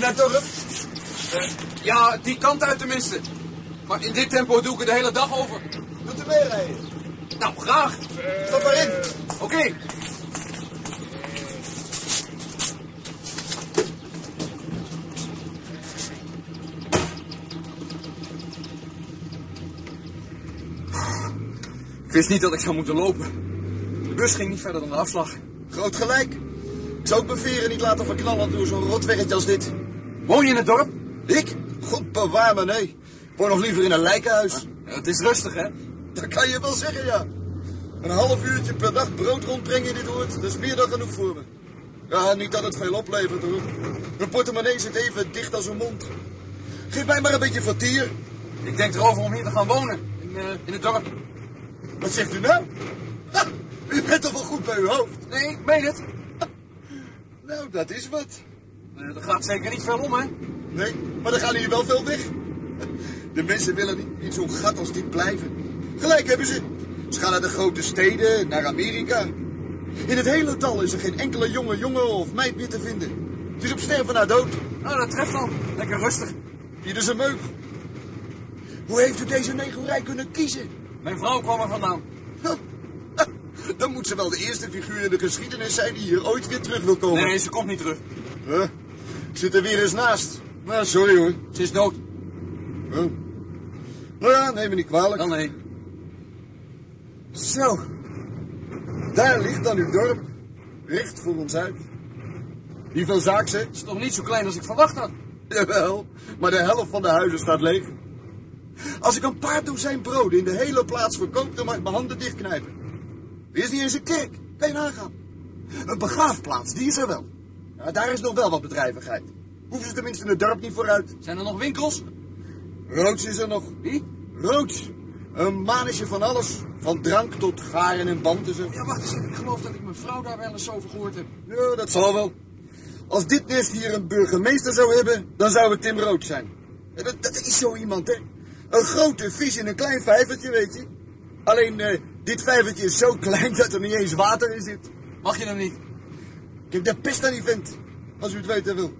naar Turp? ja, die kant uit tenminste. Maar in dit tempo doe ik er de hele dag over. Wilt u meerijden? Nou, graag. Stap maar in. Oké. Ik wist niet dat ik zou moeten lopen. De bus ging niet verder dan de afslag. Groot gelijk. Ik zou ook mijn veren niet laten verknallen door zo'n rotwerkje als dit. Woon je in het dorp? Ik? Goed bewaar me, nee. Ik woon nog liever in een lijkenhuis. Ja, het is rustig, hè? Dat kan je wel zeggen, ja. Een half uurtje per dag brood rondbrengen in dit oord, dat is meer dan genoeg voor me. Ja, niet dat het veel oplevert, hoor. Mijn portemonnee zit even dicht als een mond. Geef mij maar een beetje vertier. Ik denk erover om hier te gaan wonen. In, eh, in het dorp. Wat zegt u nou? Ha, u bent toch wel goed bij uw hoofd? Nee, ik meen het. Nou, dat is wat. Eh, Er gaat zeker niet veel om, hè? Nee, maar dan gaan hier wel veel weg. De mensen willen niet in zo'n gat als dit blijven. Gelijk hebben ze. Ze gaan naar de grote steden, naar Amerika. In het hele dal is er geen enkele jonge jongen of meid meer te vinden. Het is op sterven na dood. Nou, dat treft dan. Lekker rustig. Hier is een meuk. Hoe heeft u deze negerij kunnen kiezen? Mijn vrouw kwam er vandaan. Huh. Dan moet ze wel de eerste figuur in de geschiedenis zijn die hier ooit weer terug wil komen. Nee, ze komt niet terug. Huh? Ik zit er weer eens naast. Nou, sorry hoor. Ze is dood. Huh. Nou ja, neem me niet kwalijk. Dan nee. Zo, daar ligt dan uw dorp, recht voor ons uit. Niet veel zaak, zeg. Het is toch niet zo klein als ik verwacht had. Jawel, maar de helft van de huizen staat leeg. Als ik een paar dozijn brood in de hele plaats verkoop, dan mag ik mijn handen dichtknijpen. Er is niet eens een kerk, kan je nagaan. Een begraafplaats, die is er wel. Ja, daar is nog wel wat bedrijvigheid. Hoeven ze tenminste in het dorp niet vooruit. Zijn er nog winkels? Roods is er nog. Wie? Roods, een manetje van alles. Van drank tot garen en banden, zeg. Ja, wacht eens. Ik geloof dat ik mijn vrouw daar wel eens over gehoord heb. Ja, dat zal wel. Als dit nest hier een burgemeester zou hebben, dan zou het Tim Rood zijn. Ja, Dat, dat is zo iemand, hè? Een grote vis in een klein vijvertje, weet je. Alleen, eh, dit vijvertje is zo klein dat er niet eens water in zit. Mag je hem niet? Ik heb de pest aan die vent, als u het weten wil.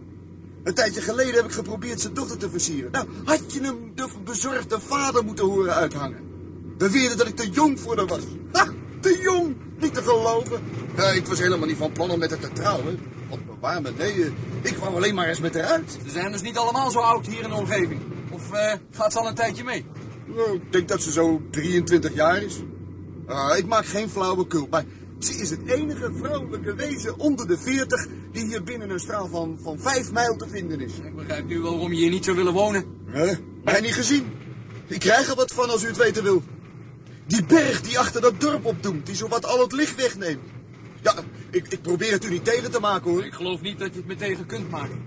Een tijdje geleden heb ik geprobeerd zijn dochter te versieren. Nou, had je hem de bezorgde vader moeten horen uithangen. Beweerde dat ik te jong voor haar was. Ha, te jong, niet te geloven. Ja, ik was helemaal niet van plan om met haar te trouwen. Want bewaar me, nee, eh, ik kwam alleen maar eens met haar uit. Ze zijn dus niet allemaal zo oud hier in de omgeving. Of eh, gaat ze al een tijdje mee? Nou, ik denk dat ze zo 23 jaar is. Ah, ik maak geen flauwekul, maar ze is het enige vrouwelijke wezen onder de 40 die hier binnen een straal van, van 5 mijl te vinden is. Ik begrijp nu wel waarom je hier niet zou willen wonen. Hè? Mij niet gezien. Ik krijg er wat van als u het weten wil. Die berg die achter dat dorp opdoemt, die zowat al het licht wegneemt. Ja, ik, ik probeer het u niet tegen te maken hoor. Ik geloof niet dat je het me tegen kunt maken.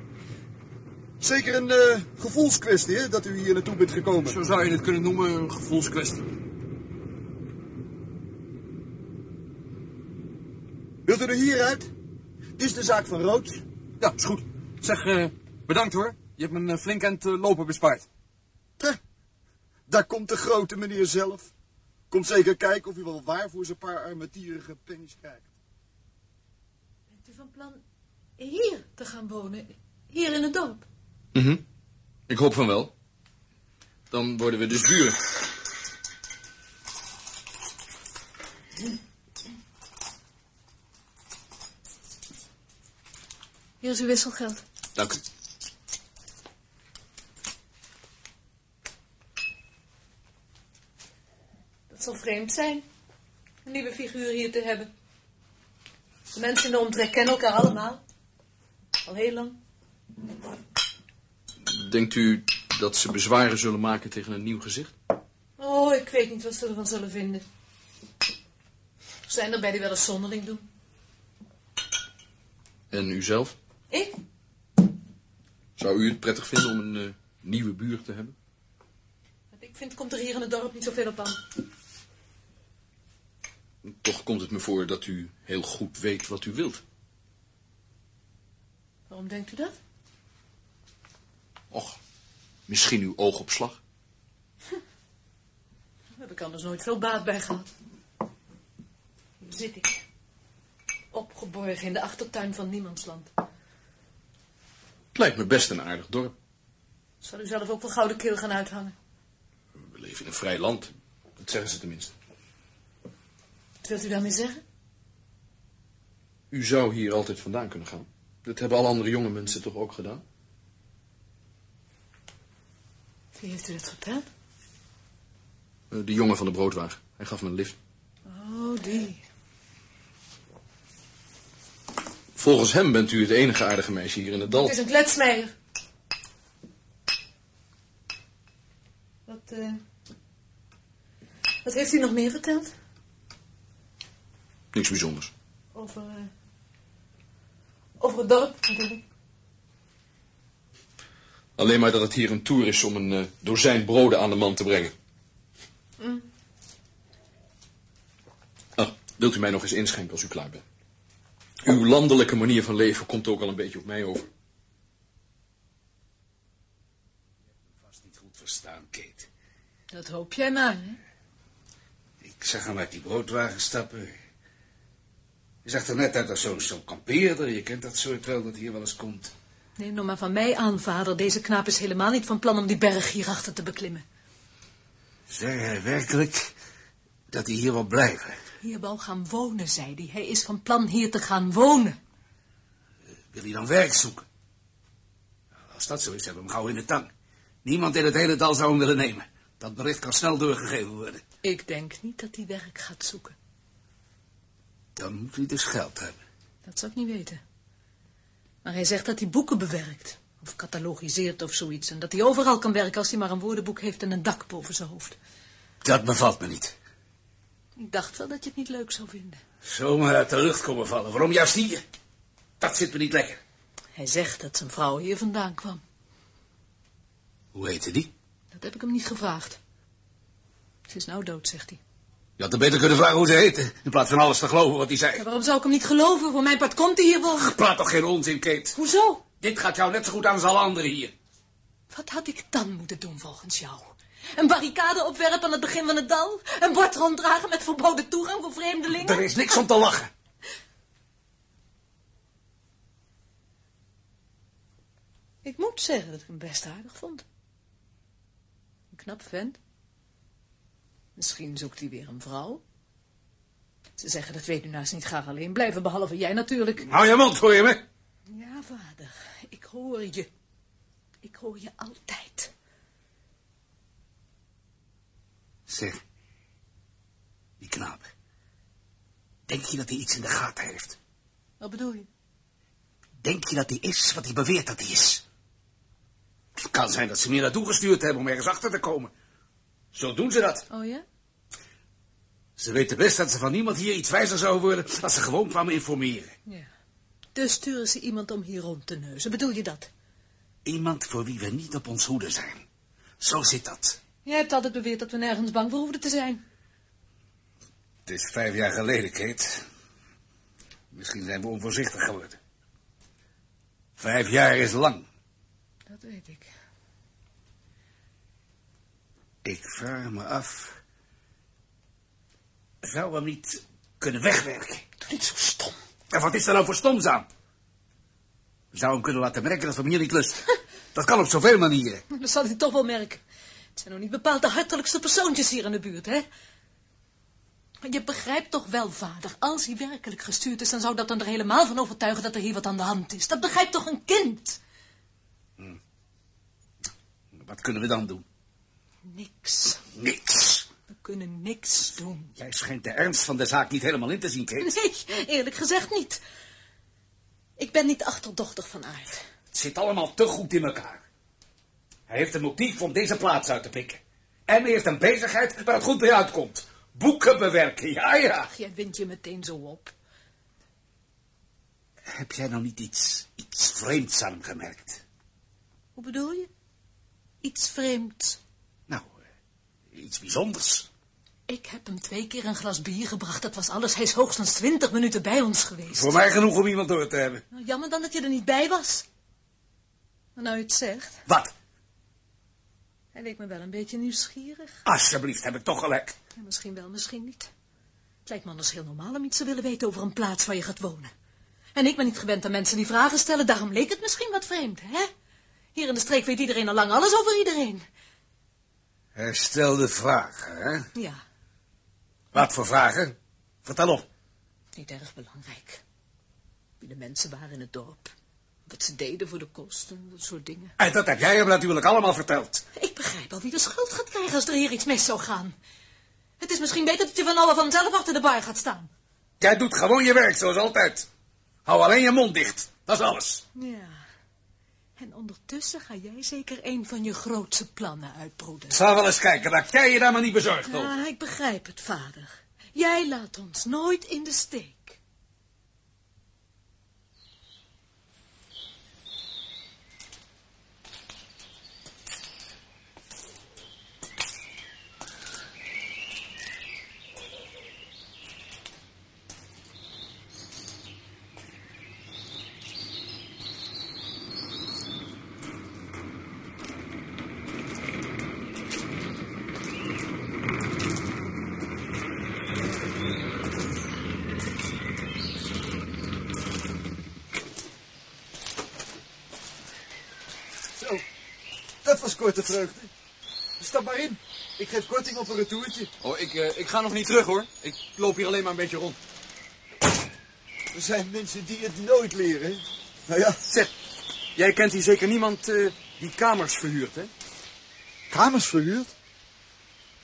Zeker een eh, gevoelskwestie hè, dat u hier naartoe bent gekomen. Zo zou je het kunnen noemen, een gevoelskwestie. Wilt u er hieruit? Dit is de zaak van Rood. Ja, is goed. Zeg, eh, bedankt hoor. Je hebt me een flink aan het eh, lopen bespaard. Hè? Daar komt de grote meneer zelf. Komt zeker kijken of u wel waar voor zijn paar armetierige pennies krijgt. Bent u van plan hier te gaan wonen? Hier in het dorp? Ik hoop van wel. Dan worden we dus buren. Hier is uw wisselgeld. Nou, Dank u. Dat zal vreemd zijn. Een nieuwe figuur hier te hebben. De mensen in de omtrek kennen elkaar allemaal. Al heel lang. Denkt u dat ze bezwaren zullen maken tegen een nieuw gezicht? Oh, ik weet niet wat ze ervan zullen vinden. Er zijn er bij die wel eens zonderling doen. En u zelf? Ik? Zou u het prettig vinden om een eh, nieuwe buur te hebben? Want Ik vind, komt er hier in het dorp niet zoveel op aan. Toch komt het me voor dat u heel goed weet wat u wilt. Waarom denkt u dat? Och, misschien uw oogopslag? Daar heb ik anders nooit veel baat bij gehad. Hier zit ik. Opgeborgen in de achtertuin van niemandsland. Het lijkt me best een aardig dorp. Zal u zelf ook wel gouden keel gaan uithangen? We leven in een vrij land. Dat zeggen ze tenminste. Wat wilt u daarmee zeggen? U zou hier altijd vandaan kunnen gaan. Dat hebben alle andere jonge mensen toch ook gedaan? Wie heeft u dat verteld? Eh, De jongen van de broodwagen. Hij gaf me een lift. Oh, die. Volgens hem bent u het enige aardige meisje hier in het dal. Het is een kletsmeijer. Wat, eh... Wat heeft u nog meer verteld? Niks bijzonders. Over, eh, over het dorp natuurlijk. Alleen maar dat het hier een toer is om een eh, dozijn broden aan de man te brengen. Mm. Ah, wilt u mij nog eens inschenken als u klaar bent? Uw landelijke manier van leven komt ook al een beetje op mij over. Vast niet goed verstaan, Kate. Dat hoop jij maar, hè? Ik zag hem uit die broodwagen stappen. Je zag er net uit als zo'n zo'n kampeerder. Je kent dat soort wel dat hier wel eens komt. Neem nog maar van mij aan, vader. Deze knaap is helemaal niet van plan om die berg hierachter te beklimmen. Zeg hij werkelijk dat hij hier wil blijven? Hier wou gaan wonen, zei hij. Hij is van plan hier te gaan wonen. Wil hij dan werk zoeken? Nou, Als dat zo is, hebben we hem gauw in de tang. Niemand in het hele dal zou hem willen nemen. Dat bericht kan snel doorgegeven worden. Ik denk niet dat hij werk gaat zoeken. Dan moet hij dus geld hebben. Dat zou ik niet weten. Maar hij zegt dat hij boeken bewerkt. Of catalogiseert of zoiets. En dat hij overal kan werken als hij maar een woordenboek heeft en een dak boven zijn hoofd. Dat bevalt me niet. Ik dacht wel dat je het niet leuk zou vinden. Zomaar uit de lucht komen vallen. Waarom juist hier? Dat zit me niet lekker. Hij zegt dat zijn vrouw hier vandaan kwam. Hoe heette die? Dat heb ik hem niet gevraagd. Ze is nou dood, zegt hij. Je had hem beter kunnen vragen hoe ze heette. In plaats van alles te geloven wat hij zei. Ja, waarom zou ik hem niet geloven? Voor mijn part komt hij hier wel. Praat toch geen onzin, Kate. Hoezo? Dit gaat jou net zo goed aan als alle anderen hier. Wat had ik dan moeten doen volgens jou? Een barricade opwerpen aan het begin van het dal? Een bord ronddragen met verboden toegang voor vreemdelingen? Er is niks om te lachen. Ik moet zeggen dat ik hem best aardig vond. Een knap vent. Misschien zoekt hij weer een vrouw. Ze zeggen dat weduwnaars niet graag alleen blijven, behalve jij natuurlijk. Hou je mond, hoor je me? Ja, vader, ik hoor je. Ik hoor je altijd. Zeg, die knaap. Denk je dat hij iets in de gaten heeft? Wat bedoel je? Denk je dat hij is wat hij beweert dat hij is? Het kan zijn dat ze hem hier naartoe gestuurd hebben om ergens achter te komen. Zo doen ze dat. Oh ja? Ze weten best dat ze van niemand hier iets wijzer zou worden als ze gewoon kwamen informeren. Ja. Dus sturen ze iemand om hier rond te neuzen, bedoel je dat? Iemand voor wie we niet op ons hoede zijn. Zo zit dat. Jij hebt altijd beweerd dat we nergens bang voor hoefden te zijn. Het is vijf jaar geleden, Kate. Misschien zijn we onvoorzichtig geworden. Vijf jaar is lang. Dat weet ik. Ik vraag me af... Zou we hem niet kunnen wegwerken? Doe niet zo stom. En wat is er nou voor stoms aan? We zouden hem kunnen laten merken dat we hem hier niet lusten. Dat kan op zoveel manieren. Dat zal hij toch wel merken. Het zijn nog niet bepaald de hartelijkste persoontjes hier in de buurt, hè? Maar je begrijpt toch wel, vader, als hij werkelijk gestuurd is... dan zou dat hem er helemaal van overtuigen dat er hier wat aan de hand is. Dat begrijpt toch een kind? Wat kunnen we dan doen? Niks. Niks. We kunnen niks doen. Jij schijnt de ernst van de zaak niet helemaal in te zien, Kate. Nee, eerlijk gezegd niet. Ik ben niet achterdochtig van aard. Het zit allemaal te goed in elkaar. Hij heeft een motief om deze plaats uit te pikken. En hij heeft een bezigheid waar het goed bij uitkomt. Boeken bewerken, ja, ja. Ach, jij wint je meteen zo op. Heb jij nou niet iets, iets vreemds aan hem gemerkt? Hoe bedoel je? Iets vreemds. Nou, eh, iets bijzonders. Ik heb hem twee keer een glas bier gebracht, dat was alles. Hij is hoogstens twintig minuten bij ons geweest. Voor mij genoeg om iemand door te hebben. Nou, jammer dan dat je er niet bij was. Maar nou je het zegt, Wat? hij leek me wel een beetje nieuwsgierig. Alsjeblieft, heb ik toch gelijk. Ja, misschien wel, misschien niet. Het lijkt me anders heel normaal om iets te willen weten over een plaats waar je gaat wonen. En ik ben niet gewend aan mensen die vragen stellen, daarom leek het misschien wat vreemd, hè? Hier in de streek weet iedereen al lang alles over iedereen. Hij stelde Eh, vragen, hè? Ja, Wat voor vragen? Vertel op. niet erg belangrijk. Wie de mensen waren in het dorp. Wat ze deden voor de kosten, dat soort dingen. En dat heb jij hem natuurlijk allemaal verteld. Ik begrijp al wie de schuld gaat krijgen als er hier iets mis zou gaan. Het is misschien beter dat je van alle vanzelf achter de bar gaat staan. Jij doet gewoon je werk, zoals altijd. Hou alleen je mond dicht. Dat is alles. Ja. En ondertussen ga jij zeker een van je grootste plannen uitbroeden. Ik zal wel eens kijken, daar kijk je daar maar niet bezorgd over. Ja, ik begrijp het, vader. Jij laat ons nooit in de steek. Zo, dat was korte vreugde. Stap maar in. Ik geef korting op een retourtje. Oh, ik, eh, ik ga nog niet terug hoor. Ik loop hier alleen maar een beetje rond. Er zijn mensen die het nooit leren. Nou ja, Zeg, jij kent hier zeker niemand eh, die kamers verhuurt, hè? kamers verhuurd?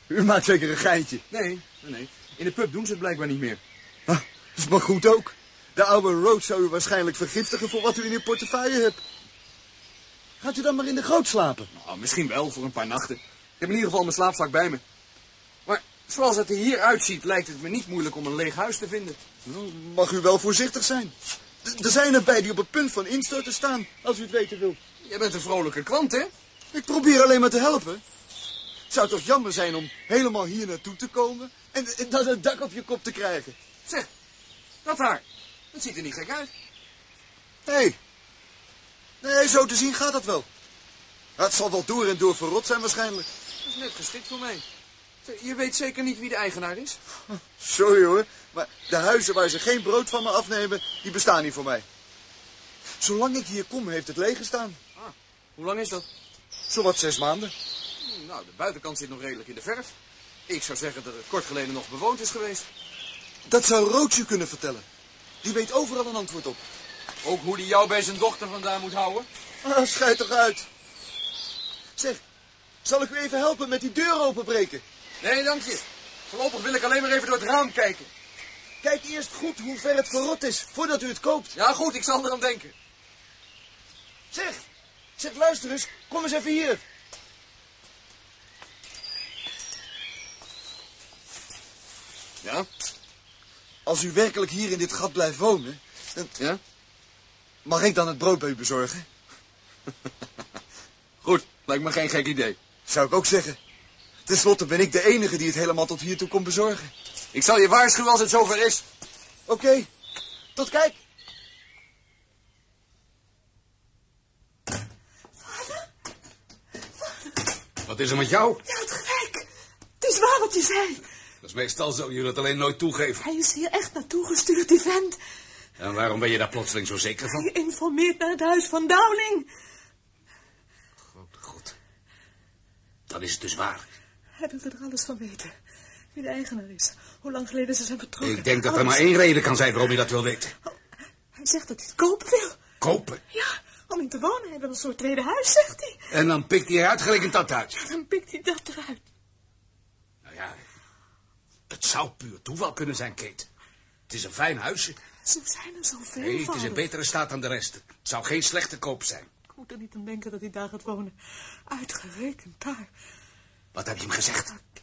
U maakt zeker een geintje. Nee, nee, nee. In de pub doen ze het blijkbaar niet meer. Ah, dat is maar goed ook. De oude Road zou u waarschijnlijk vergiftigen voor wat u in uw portefeuille hebt. Gaat u dan maar in de goot slapen? Nou, misschien wel, voor een paar nachten. Ik heb in ieder geval mijn slaapzak bij me. Maar zoals het er hier uitziet, lijkt het me niet moeilijk om een leeg huis te vinden. Nou, Mag u wel voorzichtig zijn. D- er zijn erbij die op het punt van instorten staan, als u het weten wilt. Jij bent een vrolijke kwant, hè? Ik probeer alleen maar te helpen. Het zou toch jammer zijn om helemaal hier naartoe te komen en, en dan een dak op je kop te krijgen. Zeg, dat daar. Dat ziet er niet gek uit. Hé, hey. nee, zo te zien gaat dat wel. Ja, Het zal wel door en door verrot zijn waarschijnlijk. Dat is net geschikt voor mij. Zeg, Je weet zeker niet wie de eigenaar is? Sorry hoor, maar de huizen waar ze geen brood van me afnemen, die bestaan niet voor mij. Zolang ik hier kom, heeft het leeg gestaan. Ah, hoe lang is dat? Zowat zes maanden. Hm, Nou, de buitenkant zit nog redelijk in de verf. Ik zou zeggen dat het kort geleden nog bewoond is geweest. Dat zou Roodje kunnen vertellen. Die weet overal een antwoord op. Ook hoe die jou bij zijn dochter vandaan moet houden. Ah, schijt toch uit. Zeg, zal ik u even helpen met die deur openbreken? Nee, dank je. Voorlopig wil ik alleen maar even door het raam kijken. Kijk eerst goed hoe ver het verrot is, voordat u het koopt. Ja, goed, ik zal eraan denken. Zeg, zeg, luister eens. Kom eens even hier. Ja? Als u werkelijk hier in dit gat blijft wonen, dan Ja? mag ik dan het brood bij u bezorgen? Goed, lijkt me geen gek idee. Zou ik ook zeggen. Ten slotte ben ik de enige die het helemaal tot hiertoe kon bezorgen. Ik zal je waarschuwen als het zover is. Oké, tot kijk. Wat is er met jou? Je had gelijk. Het is waar wat je zei. Dat is meestal zo, jullie dat alleen nooit toegeven. Hij is hier echt naartoe gestuurd, die vent. En waarom ben je daar plotseling zo zeker van? Hij informeert naar het huis van Dowling. Goed. Dan is het dus waar. Hij wilde er alles van weten. Wie de eigenaar is. Hoe lang geleden ze zijn vertrokken. Ik denk dat er maar Alles. één reden kan zijn waarom je dat wil weten. Oh, Hij zegt dat hij het kopen wil. Kopen. Ja, om in te wonen. Hij wil een soort tweede huis, zegt hij. En dan pikt hij er uitgerekend dat uit. Dan pikt hij dat eruit. Nou ja, het zou puur toeval kunnen zijn, Kate. Het is een fijn huisje. Ze zijn er zoveel Nee, het van. is in betere staat dan de rest. Het zou geen slechte koop zijn. Ik moet er niet aan denken dat hij daar gaat wonen. Uitgerekend daar. Wat heb je hem gezegd? Ik,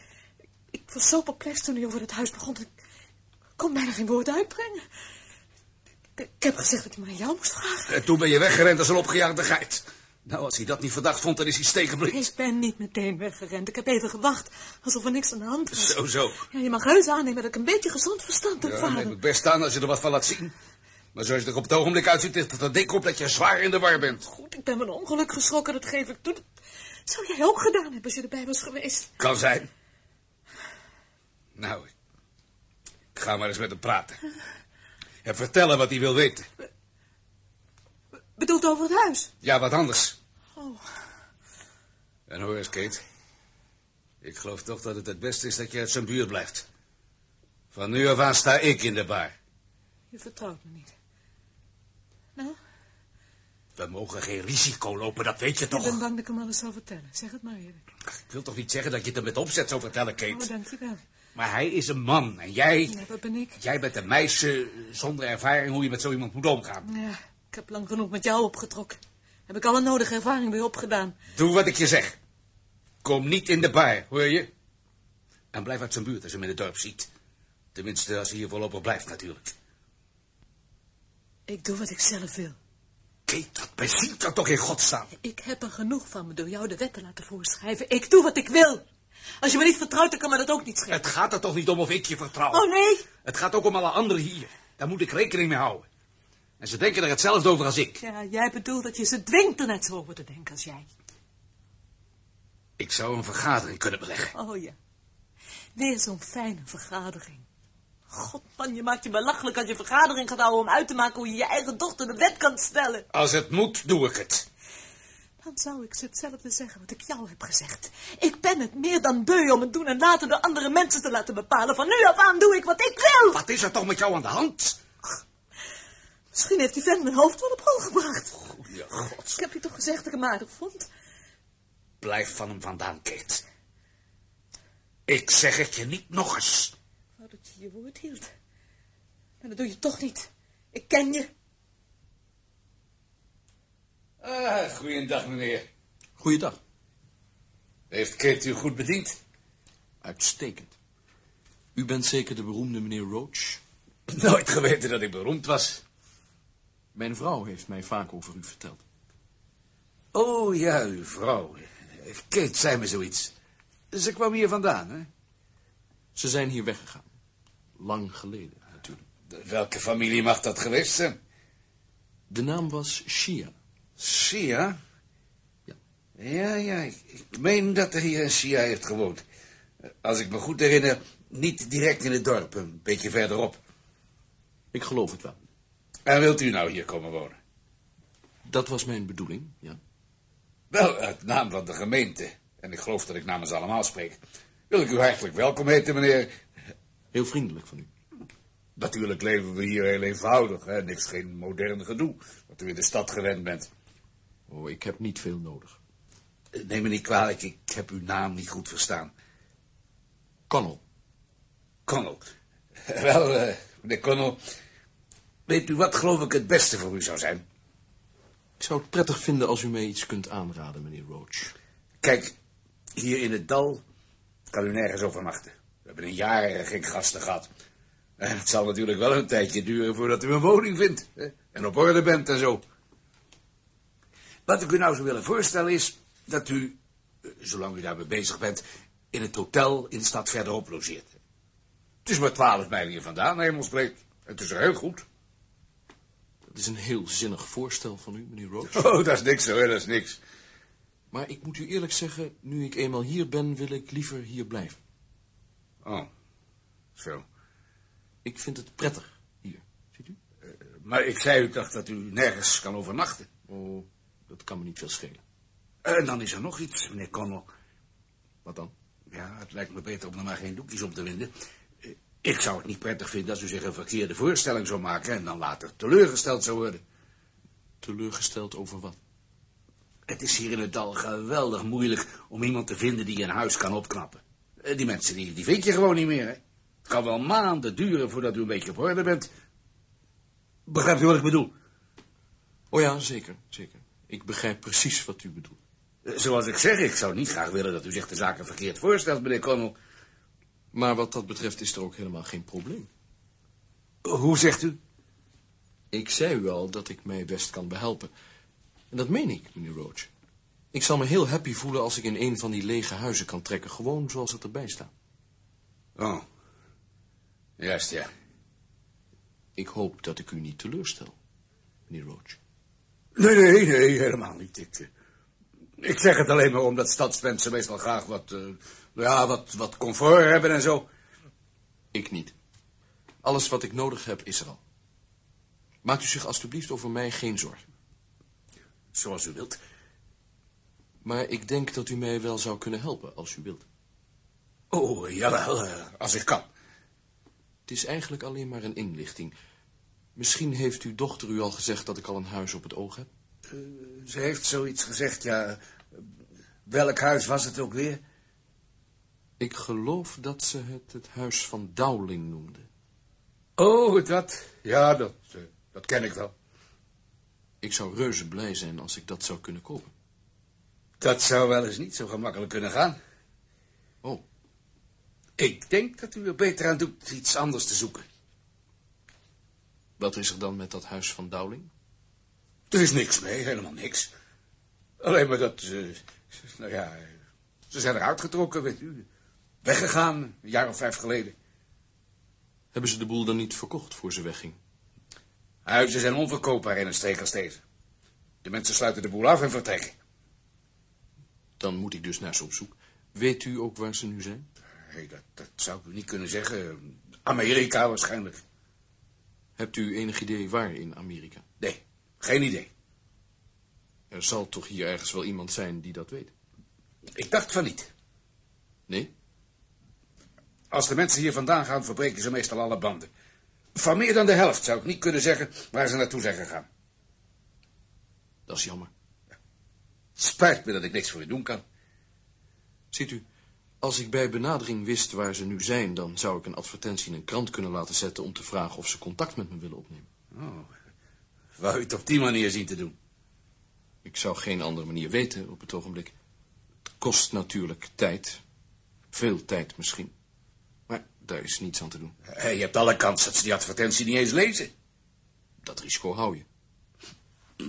ik was zo perplex toen hij over het huis begon. Ik kon bijna geen woord uitbrengen. Ik, ik heb gezegd dat ik maar aan jou moest vragen. En toen ben je weggerend als een opgejaagde geit. Nou, als hij dat niet verdacht vond, dan is hij stekenblind. Ik ben niet meteen weggerend. Ik heb even gewacht, alsof er niks aan de hand was. Zo, zo. Ja, je mag heus aannemen dat ik een beetje gezond verstand heb, Ja, vader. neem het best aan als je er wat van laat zien. Maar zoals je er op het ogenblik uitziet, is dat er dik op dat je zwaar in de war bent. Goed, ik ben van een ongeluk geschrokken, dat geef ik toe. Dat zou jij ook gedaan hebben als je erbij was geweest. Kan zijn. Nou, ik ga maar eens met hem praten. En vertellen wat hij wil weten. We, bedoelt over het huis. Ja, wat anders. Oh. En hoor eens, Kate. Ik geloof toch dat het het beste is dat je uit zijn buurt blijft. Van nu af aan sta ik in de bar. Je vertrouwt me niet. Nou, We mogen geen risico lopen, dat weet je ik ben toch? bang dat ik hem alles zal vertellen. Zeg het maar eerlijk. Ik wil toch niet zeggen dat je het er met opzet zou vertellen, Oh, Kate? dankjewel. Maar hij is een man en jij... Ja, dat ben ik. Jij bent een meisje zonder ervaring hoe je met zo iemand moet omgaan. Ja, ik heb lang genoeg met jou opgetrokken. Heb ik alle nodige ervaring weer opgedaan. Doe wat ik je zeg. Kom niet in de bar, hoor je? En blijf uit zijn buurt als je hem in het dorp ziet. Tenminste, als hij hier voorlopig blijft natuurlijk. Ik doe wat ik zelf wil. Kate, dat bezielt dat toch in godsnaam? Ik heb er genoeg van me door jou de wet te laten voorschrijven. Ik doe wat ik wil. Als je me niet vertrouwt, dan kan me dat ook niet schelen. Het gaat er toch niet om of ik je vertrouw? Oh, nee. Het gaat ook om alle anderen hier. Daar moet ik rekening mee houden. En ze denken er hetzelfde over als ik. Ja, jij bedoelt dat je ze dwingt er net zo over te denken als jij. Ik zou een vergadering kunnen beleggen. Oh ja. Weer zo'n fijne vergadering. God, man, je maakt je belachelijk als je vergadering gaat houden om uit te maken hoe je je eigen dochter de wet kan stellen. Als het moet, doe ik het. Dan zou ik ze hetzelfde zeggen wat ik jou heb gezegd. Ik ben het meer dan beu om het doen en laten door andere mensen te laten bepalen. Van nu af aan doe ik wat ik wil. Wat is er toch met jou aan de hand? Misschien heeft die vent mijn hoofd wel op hol gebracht. Goeie Oh, god. Ik heb je toch gezegd dat ik hem aardig vond? Blijf van hem vandaan, Kate. Ik zeg het je niet nog eens. Nou, dat je je woord hield. Maar dat doe je toch niet. Ik ken je. Ah, goeiedag, meneer. Goeiedag. Heeft Kate u goed bediend? Uitstekend. U bent zeker de beroemde meneer Roach? Nooit geweten dat ik beroemd was. Mijn vrouw heeft mij vaak over u verteld. Oh ja, uw vrouw. Kate zei me zoiets. Ze kwam hier vandaan, hè? Ze zijn hier weggegaan. Lang geleden, natuurlijk. De- Welke familie mag dat geweest zijn? De naam was Shia. Sia? Ja. Ja, ja, ik, ik meen dat er hier een Sia heeft gewoond. Als ik me goed herinner, niet direct in het dorp, een beetje verderop. Ik geloof het wel. En wilt u nou hier komen wonen? Dat was mijn bedoeling, ja. Wel, uit naam van de gemeente. En ik geloof dat ik namens allemaal spreek. Wil ik u hartelijk welkom heten, meneer. Heel vriendelijk van u. Natuurlijk leven we hier heel eenvoudig, hè? niks geen modern gedoe, wat u in de stad gewend bent. Eh, Oh, ik heb niet veel nodig. Neem me niet kwalijk, ik heb uw naam niet goed verstaan. Connell. Connell. Wel, eh, meneer Connell, weet u wat geloof ik het beste voor u zou zijn? Ik zou het prettig vinden als u mij iets kunt aanraden, meneer Roach. Kijk, hier in het dal kan u nergens overnachten. We hebben in jaren geen gasten gehad. En het zal natuurlijk wel een tijdje duren voordat u een woning vindt. hè, En op orde bent en zo. Wat ik u nou zou willen voorstellen is dat u, eh, zolang u daarmee bezig bent, in het hotel in de stad verderop logeert. Het is maar twaalf mijl hier vandaan, hemelsbreed. Het is heel goed. Dat is een heel zinnig voorstel van u, meneer Roach. Oh, dat is niks hoor, dat is niks. Maar ik moet u eerlijk zeggen, nu ik eenmaal hier ben, wil ik liever hier blijven. Oh, zo. Ik vind het prettig hier. Ziet u? Maar ik zei u toch dat u nergens kan overnachten. Oh, dat kan me niet veel schelen. En Eh, dan is er nog iets, meneer Connell. Wat dan? Ja, het lijkt me beter om er maar geen doekjes om te winden. Eh, Ik zou het niet prettig vinden als u zich een verkeerde voorstelling zou maken... en dan later teleurgesteld zou worden. Teleurgesteld over wat? Het is hier in het dal geweldig moeilijk om iemand te vinden die een huis kan opknappen. Eh, Die mensen, die, die vind je gewoon niet meer, hè. Het kan wel maanden duren voordat u een beetje op orde bent. Begrijpt u wat ik bedoel? Oh ja, zeker, zeker. Ik begrijp precies wat u bedoelt. Eh, Zoals ik zeg, ik zou niet graag willen dat u zich de zaken verkeerd voorstelt, meneer Connell. Maar wat dat betreft is er ook helemaal geen probleem. Hoe zegt u? Ik zei u al dat ik mij best kan behelpen. En dat meen ik, meneer Roach. Ik zal me heel happy voelen als ik in een van die lege huizen kan trekken, gewoon zoals het erbij staat. Oh. Juist, ja. Ik hoop dat ik u niet teleurstel, meneer Roach. Nee, nee, nee, helemaal niet. Ik, eh, ik zeg het alleen maar omdat stadsmensen meestal graag wat, eh, ja, wat, wat comfort hebben en zo. Ik niet. Alles wat ik nodig heb is er al. Maakt u zich alstublieft over mij geen zorgen. Zoals u wilt. Maar ik denk dat u mij wel zou kunnen helpen, als u wilt. Oh, jawel, eh, als ik kan. Het is eigenlijk alleen maar een inlichting. Misschien heeft uw dochter u al gezegd dat ik al een huis op het oog heb. Ze heeft zoiets gezegd, ja. eh, Welk huis was het ook weer? Ik geloof dat ze het het huis van Dowling noemde. Oh, dat. Ja, dat, eh, dat ken ik wel. Ik zou reuze blij zijn als ik dat zou kunnen kopen. Dat zou wel eens niet zo gemakkelijk kunnen gaan. Oh, Ik denk dat u er beter aan doet iets anders te zoeken. wat is er dan met dat huis van Dowling? Er is niks mee, helemaal niks. Alleen maar dat, eh, nou ja, eh, ze zijn eruit getrokken, weet u. Weggegaan, een jaar of vijf geleden. Hebben ze de boel dan niet verkocht voor ze wegging? Huizen zijn onverkoopbaar in een streek als deze. De mensen sluiten de boel af en vertrekken. Dan moet ik dus naar ze op zoek. Weet u ook waar ze nu zijn? Hey, dat, dat zou ik u niet kunnen zeggen. Amerika waarschijnlijk. Hebt u enig idee waar in Amerika? Nee, geen idee. Er zal toch hier ergens wel iemand zijn die dat weet? Ik dacht van niet. Nee? Als de mensen hier vandaan gaan, verbreken ze meestal alle banden. Van meer dan de helft zou ik niet kunnen zeggen waar ze naartoe zijn gegaan. Dat is jammer. Spijt me dat ik niks voor u doen kan. Ziet u, als ik bij benadering wist waar ze nu zijn... dan zou ik een advertentie in een krant kunnen laten zetten... om te vragen of ze contact met me willen opnemen. Oh, wou u het op die manier zien te doen? Ik zou geen andere manier weten op het ogenblik. Het kost natuurlijk tijd. Veel tijd misschien. Maar daar is niets aan te doen. Hé, je hebt alle kans dat ze die advertentie niet eens lezen. Dat risico hou je.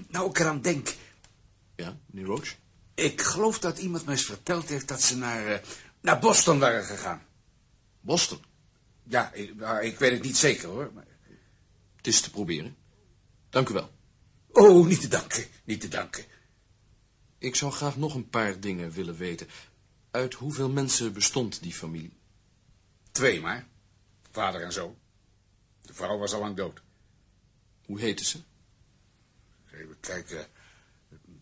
Nou, ik eraan denk. Ja, meneer Roach? Ik geloof dat iemand mij eens verteld heeft dat ze naar, eh, naar Boston waren gegaan. Boston. Ja, ik, nou, ik weet het niet zeker hoor. maar- Het is te proberen. Dank u wel. Oh, niet te danken, niet te danken. Ik zou graag nog een paar dingen willen weten. Uit hoeveel mensen bestond die familie? Twee maar. Vader en zoon. De vrouw was al lang dood. Hoe heette ze? Even kijken.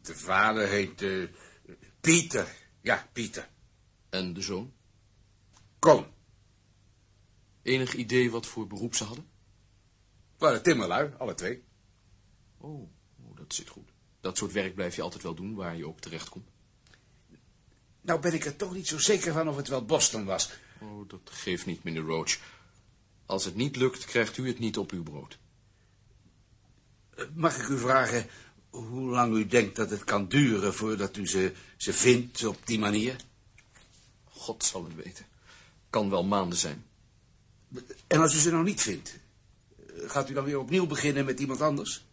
De vader heet eh, Pieter. Ja, Pieter. En de zoon? Koon. Enig idee wat voor beroep ze hadden? Waren timmerlui, alle twee. Oh, oh, dat zit goed. Dat soort werk blijf je altijd wel doen, waar je ook terechtkomt. Nou ben ik er toch niet zo zeker van of het wel Boston was. Oh, dat geeft niet, meneer Roach. Als het niet lukt, krijgt u het niet op uw brood. Eh, Mag ik u vragen hoe lang u denkt dat het kan duren voordat u ze, ze vindt op die manier? God zal het weten. Kan wel maanden zijn. En als u ze nou niet vindt, eh, gaat u dan weer opnieuw beginnen met iemand anders?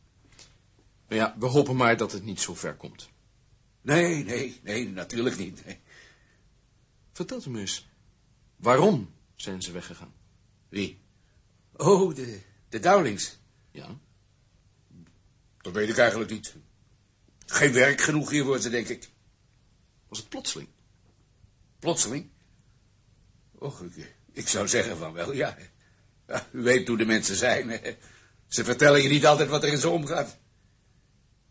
Maar ja, we hopen maar dat het niet zo ver komt. Nee, nee, nee, natuurlijk niet. nee. Vertelt u me eens, waarom zijn ze weggegaan? Wie? Oh, de, de Dowlings. Ja, Dat weet ik eigenlijk niet. Geen werk genoeg hier voor ze, denk ik. was het plotseling? Plotseling? Och, ik, ik zou zeggen van wel, ja. Ja, U weet hoe de mensen zijn. hè. Ze vertellen je niet altijd wat er in ze omgaat.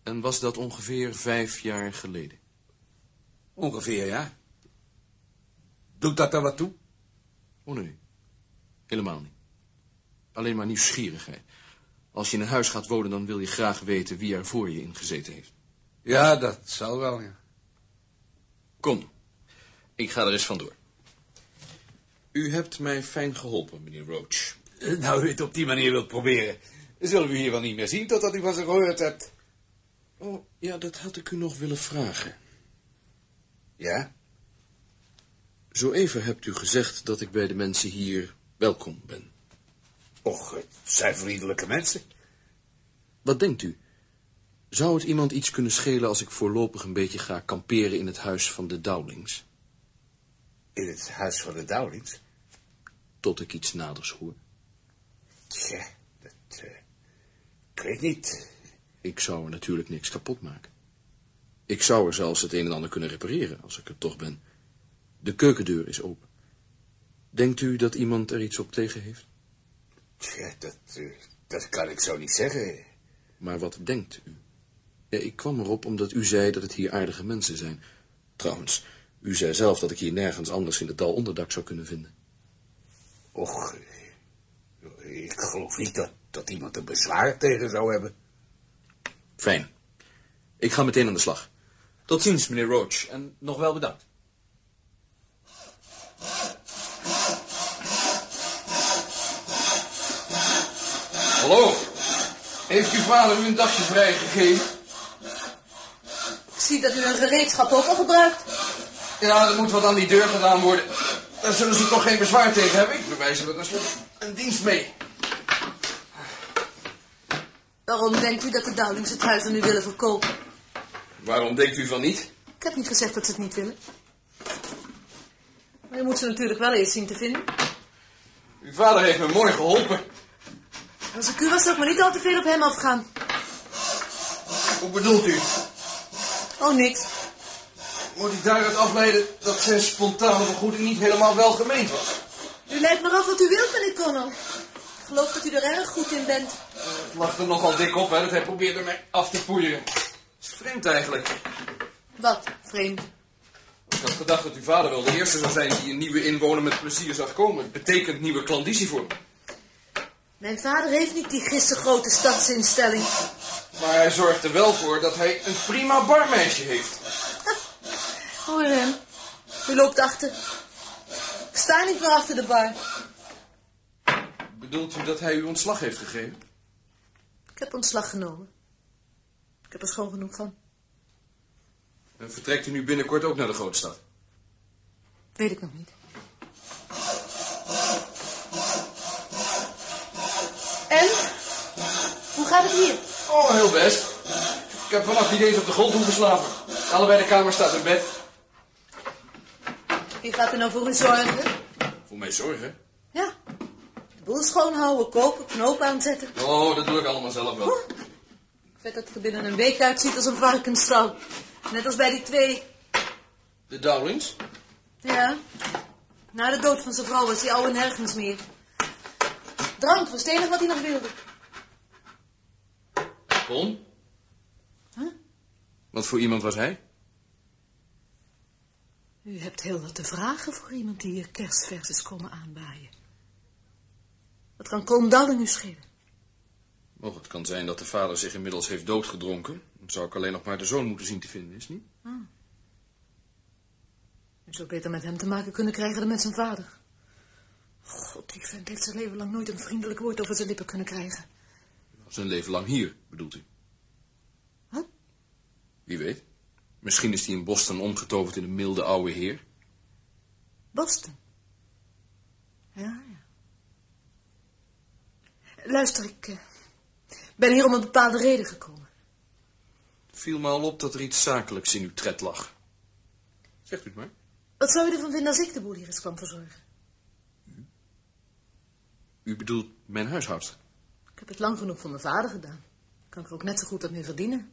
En was dat ongeveer vijf jaar geleden? Ongeveer, ja. Doet dat dan wat toe? Oh nee, helemaal niet. Alleen maar nieuwsgierigheid. Als je in een huis gaat wonen, dan wil je graag weten wie er voor je ingezeten heeft. Ja, dat zal wel, ja. Kom, ik ga er eens vandoor. U hebt mij fijn geholpen, meneer Roach. Eh, Nou, u het op die manier wilt proberen. Zullen we u hier wel niet meer zien totdat u van ze gehoord hebt? Oh, ja, dat had ik u nog willen vragen. Ja? Zo even hebt u gezegd dat ik bij de mensen hier welkom ben. Och, eh, het zijn vriendelijke mensen. Wat denkt u? Zou het iemand iets kunnen schelen als ik voorlopig een beetje ga kamperen in het huis van de Dowlings? In het huis van de Dowlings. Tot ik iets naders hoor. Tja, dat... eh, ik weet niet. Ik zou er natuurlijk niks kapot maken. Ik zou er zelfs het een en ander kunnen repareren, als ik er toch ben. De keukendeur is open. Denkt u dat iemand er iets op tegen heeft? Tja, dat, eh, dat kan ik zo niet zeggen. Maar wat denkt u? Ja, ik kwam erop omdat u zei dat het hier aardige mensen zijn. Trouwens, u zei zelf dat ik hier nergens anders in het dal onderdak zou kunnen vinden. Och, eh, ik geloof niet dat, dat iemand er bezwaar tegen zou hebben. Fijn. Ik ga meteen aan de slag. Tot ziens, meneer Roach. En nog wel bedankt. Hallo, heeft uw vader u een dagje vrijgegeven? Ik zie dat u een gereedschap ook al gebruikt. Ja, er moet wat aan die deur gedaan worden. Daar zullen ze toch geen bezwaar tegen hebben? Ik bewijs er tenslotte een dienst mee. Waarom denkt u dat de Dowlings het huis aan u willen verkopen? Waarom denkt u van niet? Ik heb niet gezegd dat ze het niet willen. Maar je moet ze natuurlijk wel eerst zien te vinden. Uw vader heeft me mooi geholpen. Als ik u was, zou ik maar niet al te veel op hem afgaan. Hoe bedoelt u? Oh, niks. Moet ik daaruit afleiden dat zijn spontane vergoeding niet helemaal wel gemeend was? U leidt maar af wat u wilt, meneer Connell. Ik geloof dat u er erg goed in bent. Het lag er nogal dik op, hè, dat hij probeerde mij af te poeieren. Het is vreemd eigenlijk. Wat, vreemd. Ik had gedacht dat uw vader wel de eerste zou zijn die een nieuwe inwoner met plezier zag komen. Het betekent nieuwe klandizie voor me. Mijn vader heeft niet die gistergrote stadsinstelling. Maar hij zorgt er wel voor dat hij een prima barmeisje heeft. Hoor hem. U loopt achter. Ik sta niet meer achter de bar. Bedoelt u dat hij u ontslag heeft gegeven? Ik heb ontslag genomen. Ik heb er schoon genoeg van. En vertrekt u nu binnenkort ook naar de grootstad? Weet ik nog niet. En? Hoe gaat het hier? Oh, heel best. Ik heb vannacht niet eens op de grond geslapen. Allebei de kamer staat in bed. Wie gaat er nou voor u zorgen? Voor mij zorgen? Ja. De boel schoonhouden, kopen, knoop aanzetten. Oh, dat doe ik allemaal zelf wel. Ik weet dat het er binnen een week uitziet als een varkensstal. Net als bij die twee. De Dowlings? Ja. Na de dood van zijn vrouw was die oude nergens meer. Drank was het enige wat hij nog wilde. Kon? Huh? Wat voor iemand was hij? U hebt heel wat te vragen voor iemand die hier kerstvers is komen aanwaaien. Wat kan Colm Dowling nu schelen? Och, Oh, het kan zijn dat de vader zich inmiddels heeft doodgedronken. Dan zou ik alleen nog maar de zoon moeten zien te vinden, is het niet? U zou beter met hem te maken kunnen krijgen dan met zijn vader. God, die vent heeft zijn leven lang nooit een vriendelijk woord over zijn lippen kunnen krijgen. Zijn leven lang hier, bedoelt u? Huh? Wie weet. Misschien is hij in Boston omgetoverd in een milde oude heer. Boston. Ja, ja. Luister, ik eh, ben hier om een bepaalde reden gekomen. Het viel me al op dat er iets zakelijks in uw tred lag. Zegt u het maar. Wat zou je ervan vinden als ik de boel hier eens kwam verzorgen? U bedoelt mijn huishoudster. Ik heb het lang genoeg voor mijn vader gedaan. Kan ik er ook net zo goed wat mee verdienen.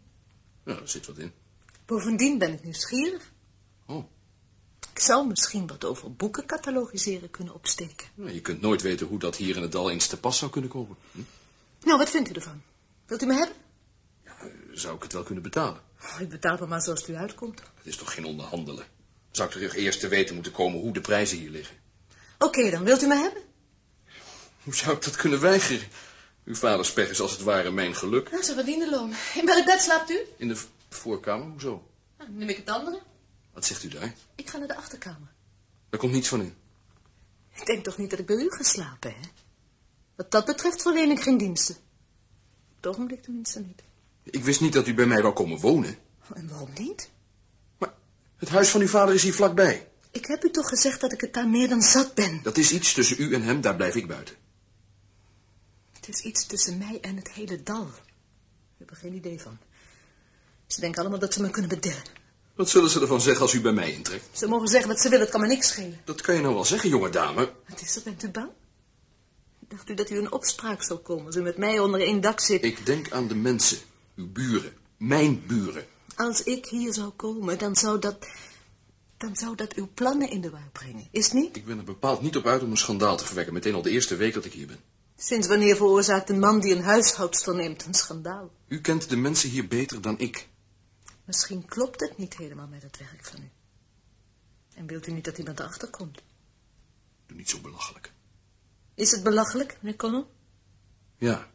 Ja, daar zit wat in. Bovendien ben ik nieuwsgierig. Oh, Ik zou misschien wat over boeken catalogiseren kunnen opsteken. nou, je kunt nooit weten hoe dat hier in het dal eens te pas zou kunnen komen. Hm? Nou, wat vindt u ervan? Wilt u me hebben? Zou ik het wel kunnen betalen? Oh, ik betaal me maar zoals het u uitkomt. Het is toch geen onderhandelen? Zou ik toch eerst te weten moeten komen hoe de prijzen hier liggen? Oké, dan wilt u me hebben? Hoe zou ik dat kunnen weigeren? Uw vaders pech is als het ware mijn geluk. Nou, ze verdienen loon. In welk bed slaapt u? In de v- voorkamer, hoezo? Nou, neem ik het andere. Wat zegt u daar? Ik ga naar de achterkamer. Daar komt niets van in. Ik denk toch niet dat ik bij u ga slapen, hè? Wat dat betreft verleen ik geen diensten. Op het ogenblik tenminste niet. Ik wist niet dat u bij mij wou komen wonen. Oh, En waarom niet? Maar het huis van uw vader is hier vlakbij. Ik heb u toch gezegd dat ik het daar meer dan zat ben. Dat is iets tussen u en hem, daar blijf ik buiten. Het is iets tussen mij en het hele dal. Ik heb er geen idee van. Ze denken allemaal dat ze me kunnen bedillen. Wat zullen ze ervan zeggen als u bij mij intrekt? Ze mogen zeggen wat ze willen, het kan me niks schelen. Dat kan je nou wel zeggen, jonge dame. Wat is er, bent u bang? Dacht u dat u een opspraak zou komen als u met mij onder één dak zit? Ik denk aan de mensen, uw buren, mijn buren. Als ik hier zou komen, dan zou dat... Dan zou dat uw plannen in de war brengen, is het niet? Ik ben er bepaald niet op uit om een schandaal te verwekken, meteen al de eerste week dat ik hier ben. Sinds wanneer veroorzaakt een man die een huishoudster neemt een schandaal? U kent de mensen hier beter dan ik. Misschien klopt het niet helemaal met het werk van u. En wilt u niet dat iemand erachter komt? Doe niet zo belachelijk. Is het belachelijk, meneer Connell? Ja,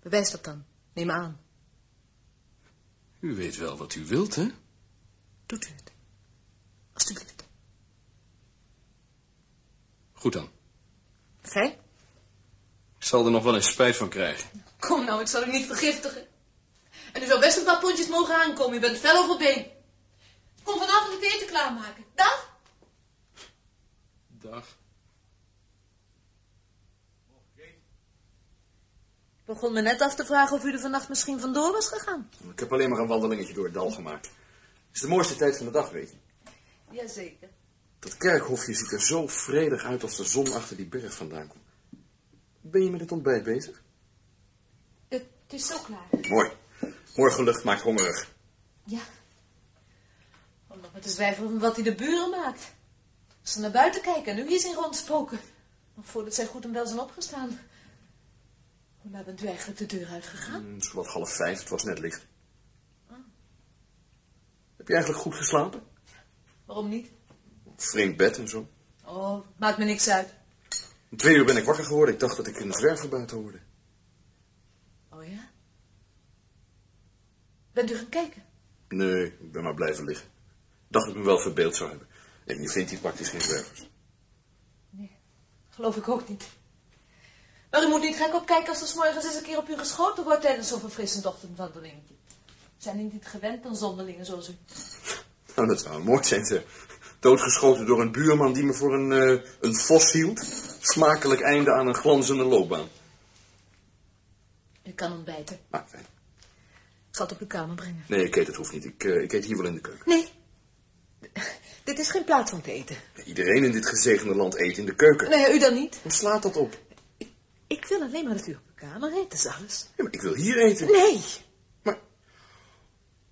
Bewijs dat dan. Neem aan. u weet wel wat u wilt, hè? Doet u het. Alsjeblieft. Goed dan. Fijn. Ik zal er nog wel eens spijt van krijgen. Kom nou, ik zal u niet vergiftigen. En u zou best een paar pondjes mogen aankomen. U bent fel over been. Kom vanavond het eten klaarmaken. Dag. Dag. Ik begon me net af te vragen of u er vannacht misschien vandoor was gegaan. Ik heb alleen maar een wandelingetje door het dal gemaakt. Het is de mooiste tijd van de dag, weet je. Jazeker. Dat kerkhofje ziet er zo vredig uit als de zon achter die berg vandaan komt. Ben je met het ontbijt bezig? Het is zo klaar. Mooi. Morgenlucht maakt hongerig. Ja. Om nog maar te zwijgen van wat hij de buren maakt. Als ze naar buiten kijken en nu hier zien rondspoken. Nog voordat zij goed en wel zijn opgestaan. Hoe laat bent u eigenlijk de deur uitgegaan? Hm, Het is wat half vijf, het was net licht. Heb je eigenlijk goed geslapen? Waarom niet? Vreemd bed en zo. Oh, maakt me niks uit. Om twee uur ben ik wakker geworden. Ik dacht dat ik een zwerver buiten hoorde. Oh ja? Bent u gaan kijken? Nee, ik ben maar blijven liggen. Ik dacht dat ik me wel verbeeld zou hebben. En je vindt hier praktisch geen zwervers. Geloof ik ook niet. Maar u moet niet gek opkijken als er 's morgens eens een keer op u geschoten wordt tijdens zo'n verfrissend ochtendwandelingetje. Zijn die niet gewend aan zonderlingen zoals u? Nou, dat zou mooi zijn, ze. Doodgeschoten door een buurman die me voor een, eh, een vos hield. Smakelijk einde aan een glanzende loopbaan. U kan ontbijten. Maar fijn. Ik zal het op uw kamer brengen. Nee, ik eet het hoeft niet. Ik, eh, ik eet hier wel in de keuken. Nee. Dit is geen plaats om te eten. Iedereen in dit gezegende land eet in de keuken. Nee, u dan niet. Hoe slaat dat op? Ik wil alleen maar dat u op uw kamer eet, dat is alles. Ja, maar ik wil hier eten. Nee. Maar...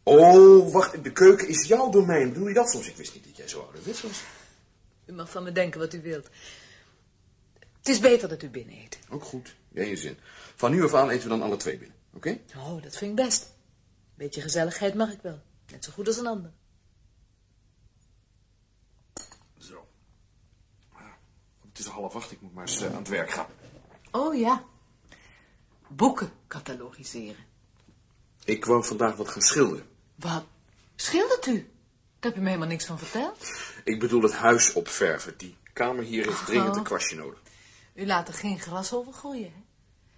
Oh, wacht. De keuken is jouw domein. Bedoel je dat soms? Ik wist niet dat jij zo ouderwets was. U mag van me denken wat u wilt. Het is beter dat u binnen eet. Ook goed. Jij je zin. Van nu af aan eten we dan alle twee binnen. Oké? Oh, dat vind ik best. Beetje gezelligheid mag ik wel. Net zo goed als een ander. Zo. Ah, Het is half acht. Ik moet maar eens eh, aan het werk gaan. Oh ja. Boeken catalogiseren. Ik wou vandaag wat gaan schilderen. Wat? Schildert u? Daar heb je me helemaal niks van verteld. Ik bedoel het huis opverven. Die kamer hier heeft dringend een kwastje nodig. U laat er geen gras over groeien, hè?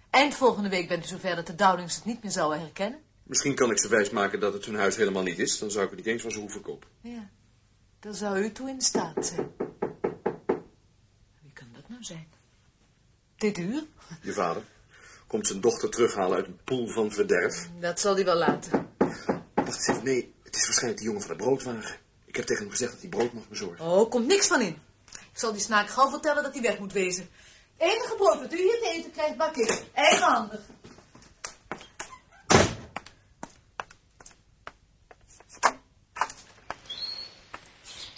Eind volgende week bent u zover dat de Dowlings het niet meer zouden herkennen. Misschien kan ik ze wijsmaken dat het hun huis helemaal niet is. Dan zou ik het niet eens van ze hoeven kopen. Ja, daar zou u toe in staat zijn. Wie kan dat nou zijn? Dit uur? Je vader komt zijn dochter terughalen uit een poel van verderf. Dat zal hij wel laten. Dacht ze, nee, het is waarschijnlijk die jongen van de broodwagen. Ik heb tegen hem gezegd dat hij brood mag bezorgen. Oh, komt niks van in. Ik zal die snaak gauw vertellen dat hij weg moet wezen. Het enige brood dat u hier te eten krijgt, bak ik. Eigenhandig.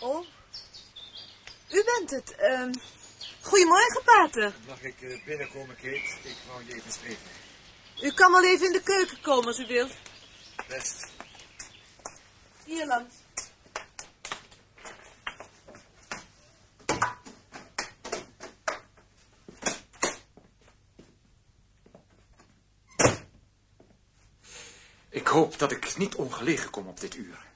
Oh. U bent het. ehm. goedemorgen, pater. Mag ik eh, binnenkomen, Kate? Ik wou je even spreken. U kan wel even in de keuken komen als u wilt. Best. Hier langs. Ik hoop dat ik niet ongelegen kom op dit uur.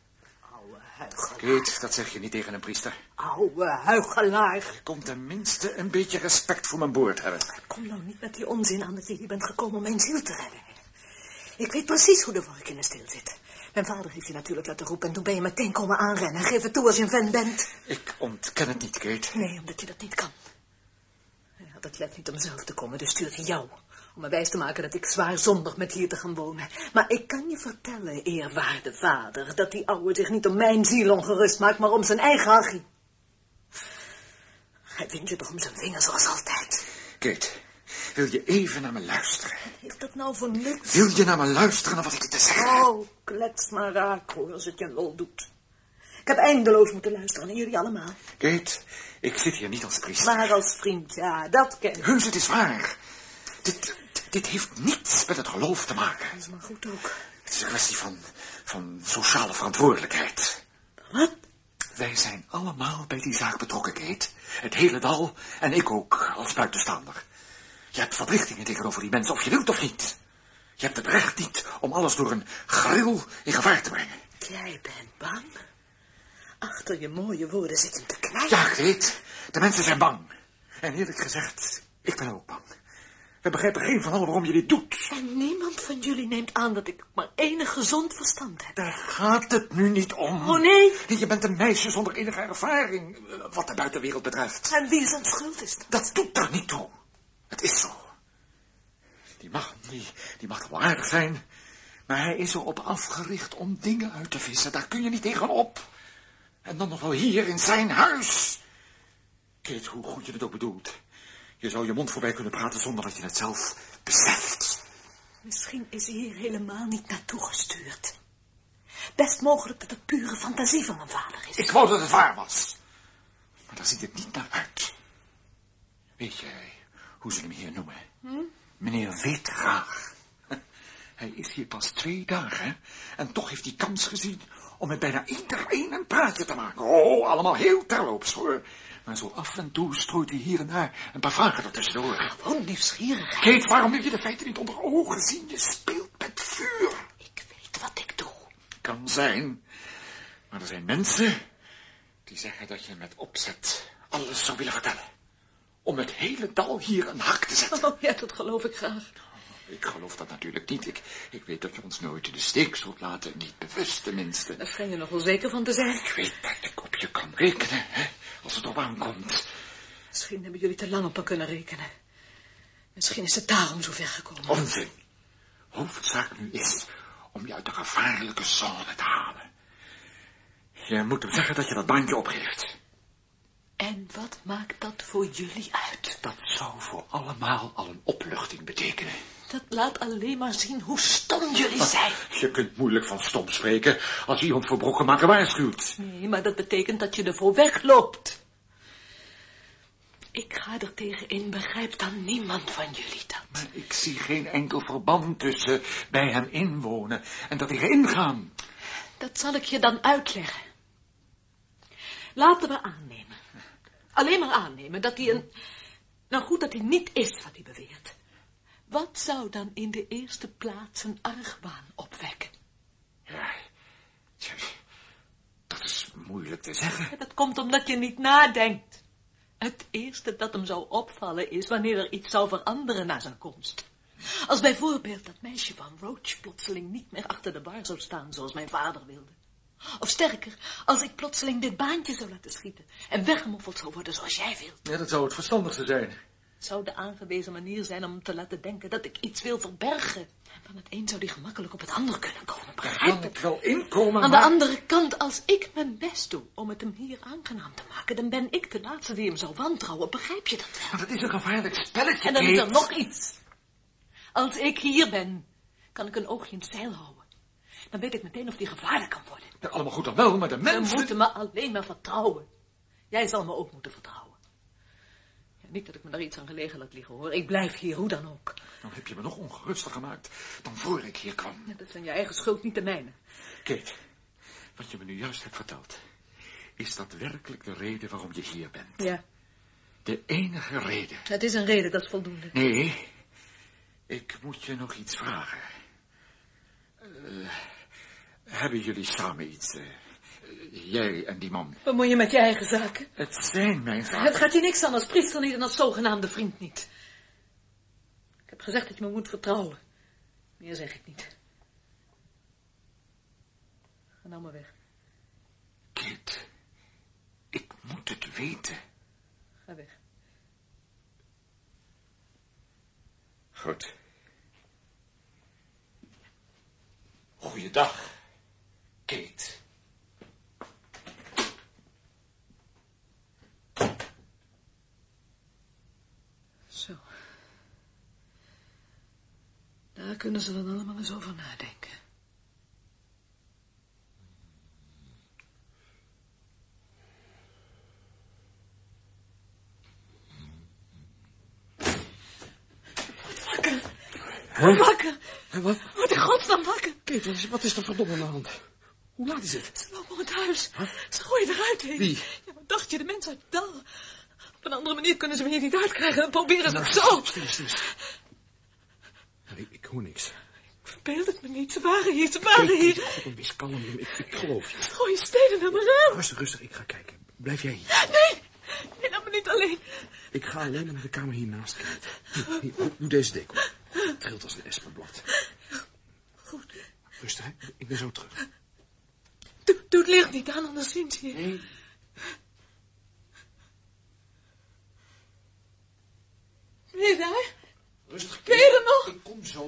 Ik weet, dat zeg je niet tegen een priester. Oude huigelaar. Ik kon tenminste een beetje respect voor mijn boord hebben. Kom nou niet met die onzin aan dat je hier bent gekomen om mijn ziel te redden. Ik weet precies hoe de vork in de steel zit. Mijn vader heeft je natuurlijk laten roepen en toen ben je meteen komen aanrennen. Geef het toe als je een vent bent. Ik ontken het niet, Kate. Nee, omdat hij dat niet kan. Hij had het lef niet om zelf te komen, dus stuurt hij jou. Om me wijs te maken dat ik zwaar zondig met hier te gaan wonen. Maar ik kan je vertellen, eerwaarde vader, dat die ouwe zich niet om mijn ziel ongerust maakt, maar om zijn eigen hachie. Hij vindt je toch om zijn vinger, zoals altijd. Kate, wil je even naar me luisteren? Heeft dat nou voor niks? Wil je naar me luisteren naar wat ik je te zeggen heb? Oh, klets maar raak, hoor, als het je lol doet. Ik heb eindeloos moeten luisteren naar jullie allemaal. Kate, ik zit hier niet als priester. Maar als vriend, ja, dat ken ik. Heus, het is waar. Dit, dit heeft niets met het geloof te maken. Dat is maar goed ook. Het is een kwestie van, van sociale verantwoordelijkheid. Wat? Wij zijn allemaal bij die zaak betrokken, Kate. Het hele dal en ik ook, als buitenstaander. Je hebt verplichtingen tegenover die mensen, of je wilt of niet. Je hebt het recht niet om alles door een gril in gevaar te brengen. Jij bent bang? Achter je mooie woorden zit hem te knijpen. Ja, Kate, de mensen zijn bang. En eerlijk gezegd, ik ben ook bang. We begrijpen geen van allen waarom je dit doet. En niemand van jullie neemt aan dat ik maar enig gezond verstand heb. Daar gaat het nu niet om. Oh, nee. Je bent een meisje zonder enige ervaring, eh, wat de buitenwereld betreft. En wie zijn schuld is dat? Dat doet er niet toe. Het is zo. Die mag, die, die mag wel aardig zijn, maar hij is erop afgericht om dingen uit te vissen. Daar kun je niet tegenop. En dan nog wel hier in zijn huis. Kate, hoe goed je het ook bedoelt. Je zou je mond voorbij kunnen praten zonder dat je het zelf beseft. Misschien is hij hier helemaal niet naartoe gestuurd. Best mogelijk dat het pure fantasie van mijn vader is. Ik wou dat het waar was. Maar daar ziet het niet naar uit. Weet jij hoe ze hem hier noemen? Meneer Witgraag. Hij is hier pas twee dagen en toch heeft hij kans gezien om met bijna iedereen een praatje te maken. Oh, allemaal heel terloops hoor. Maar zo af en toe strooit hij hier en daar een paar vragen ertussendoor. Gewoon Ah, nieuwsgierig. Kate, waarom heb je de feiten niet onder ogen zien? Je speelt met vuur. Ik weet wat ik doe. Kan zijn. Maar er zijn mensen die zeggen dat je met opzet alles zou willen vertellen. Om het hele dal hier een hak te zetten. Oh ja, dat geloof ik graag. Ik geloof dat natuurlijk niet. Ik, ik weet dat je ons nooit in de steek zult laten. Niet bewust tenminste. Daar schijn je nog wel zeker van te zijn. Ik weet dat ik op je kan rekenen, hè, als het op aankomt. Misschien hebben jullie te lang op me kunnen rekenen. Misschien is het daarom zo ver gekomen. Onzin. Hoofdzaak nu is om je uit de gevaarlijke zone te halen. Je moet hem zeggen dat je dat bandje opgeeft. En wat maakt dat voor jullie uit? Dat zou voor allemaal al een opluchting betekenen. Dat laat alleen maar zien hoe stom jullie zijn. Je kunt moeilijk van stom spreken als iemand voor brokkenmaker waarschuwt. Nee, maar dat betekent dat je ervoor wegloopt. Ik ga er tegen in, begrijpt dan niemand van jullie dat? Ik zie geen enkel verband tussen bij hem inwonen en dat tegenin gaan. Dat zal ik je dan uitleggen. Laten we aannemen. Alleen maar aannemen dat hij een... Nou goed, dat hij niet is wat hij beweert. Wat zou dan in de eerste plaats een argwaan opwekken? Ja, tja, dat is moeilijk te zeggen. Ja, Dat komt omdat je niet nadenkt. Het eerste dat hem zou opvallen is wanneer er iets zou veranderen na zijn komst. Als bijvoorbeeld dat meisje van Roach plotseling niet meer achter de bar zou staan zoals mijn vader wilde. Of sterker, als ik plotseling dit baantje zou laten schieten en weggemoffeld zou worden zoals jij wilt. Ja, dat zou het verstandigste zijn. Het zou de aangewezen manier zijn om hem te laten denken dat ik iets wil verbergen. Van het een zou die gemakkelijk op het ander kunnen komen, begrijp Kan je? ik wel inkomen, Aan de maar... andere kant, als ik mijn best doe om het hem hier aangenaam te maken, dan ben ik de laatste die hem zou wantrouwen. Begrijp je dat wel? Maar dat is een gevaarlijk spelletje, En dan is er Kate. nog iets. Als ik hier ben, kan ik een oogje in het zeil houden. Dan weet ik meteen of die gevaarlijk kan worden. Ja, allemaal goed dan wel, maar de Ze mensen... moeten me alleen maar vertrouwen. Jij zal me ook moeten vertrouwen. Ja, niet dat ik me daar iets aan gelegen laat liggen, hoor. Ik blijf hier, hoe dan ook. Dan heb je me nog ongeruster gemaakt dan voor ik hier kwam. Ja, Dat zijn je eigen schuld, niet de mijne. Kate, wat je me nu juist hebt verteld... is dat werkelijk de reden waarom je hier bent? Ja, De enige reden. het is een reden, dat is voldoende. Nee, ik moet je nog iets vragen. Eh, hebben jullie samen iets? eh, eh, jij en die man. Bemoei je met je eigen zaken. Het zijn mijn Het zaken. gaat je niks aan als priester niet en als zogenaamde vriend niet. Ik heb gezegd dat je me moet vertrouwen. Meer zeg ik niet. Ga nou maar weg. Kate, ik moet het weten. Ga weg. Goed. Goeiedag, Kate. Zo. Daar kunnen ze dan allemaal eens over nadenken. Wat Wakker. Wat? Word in godsnaam wakker. Peter, wat is er verdomme aan de hand? Hoe laat is het? Ze lopen om het huis. Ze gooien eruit heen. Wie? Ja, wat dacht je? De mensen uit het dal. Op een andere manier kunnen ze me hier niet uitkrijgen. Dan proberen ze het zo. Nou, Stil, stil, stil. Ik, ik hoor niks. Verbeeld het me niet. Ze waren hier. Ze waren hier. Kom, wees kalm. Ik, ik geloof je. Ze gooien stenen naar mijn raam. Rustig, rustig. Ik ga kijken. Blijf jij hier. Nee. Nee, laat me niet alleen. Ik ga alleen maar naar de kamer hiernaast kijken. Hier, hier, doe- doe deze deko. Het trilt als een espenblad. Goed. Rustig, hè? Ik ben zo terug. Doe, doe het licht niet aan, anders zien ze je. Nee. Ben je daar? Rustig. Ben je er nog? Ik kom zo.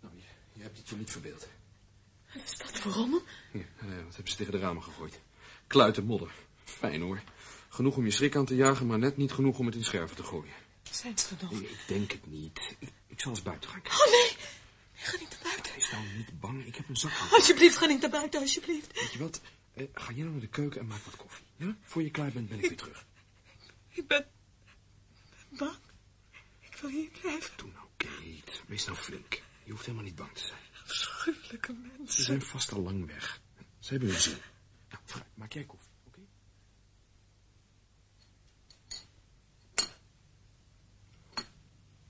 Nou, je, je hebt het je niet verbeeld. Wat is dat voor rommel? Hier, eh, wat hebben ze tegen de ramen gegooid? Kluit en modder. Fijn hoor. Genoeg om je schrik aan te jagen, maar net niet genoeg om het in scherven te gooien. Zijn ze er nog? Nee, ik denk het niet. Ik, ik zal eens buiten gaan kijken. Oh nee. Nee, ga niet naar buiten. Wees nou niet bang, ik heb een zak. aan. Alsjeblieft, ga niet naar buiten, alsjeblieft. Weet je wat? Eh, ga jij nou naar de keuken en maak wat koffie. Ja? Voor je klaar bent, ben ik weer terug. Ik ben... ben bang. Ik wil hier blijven. Doe nou, Kate. Wees nou flink. Je hoeft helemaal niet bang te zijn. Afschuwelijke Ze mensen. zijn vast al lang weg. Ze hebben hun zin. Nou, vooruit, maak jij koffie, oké?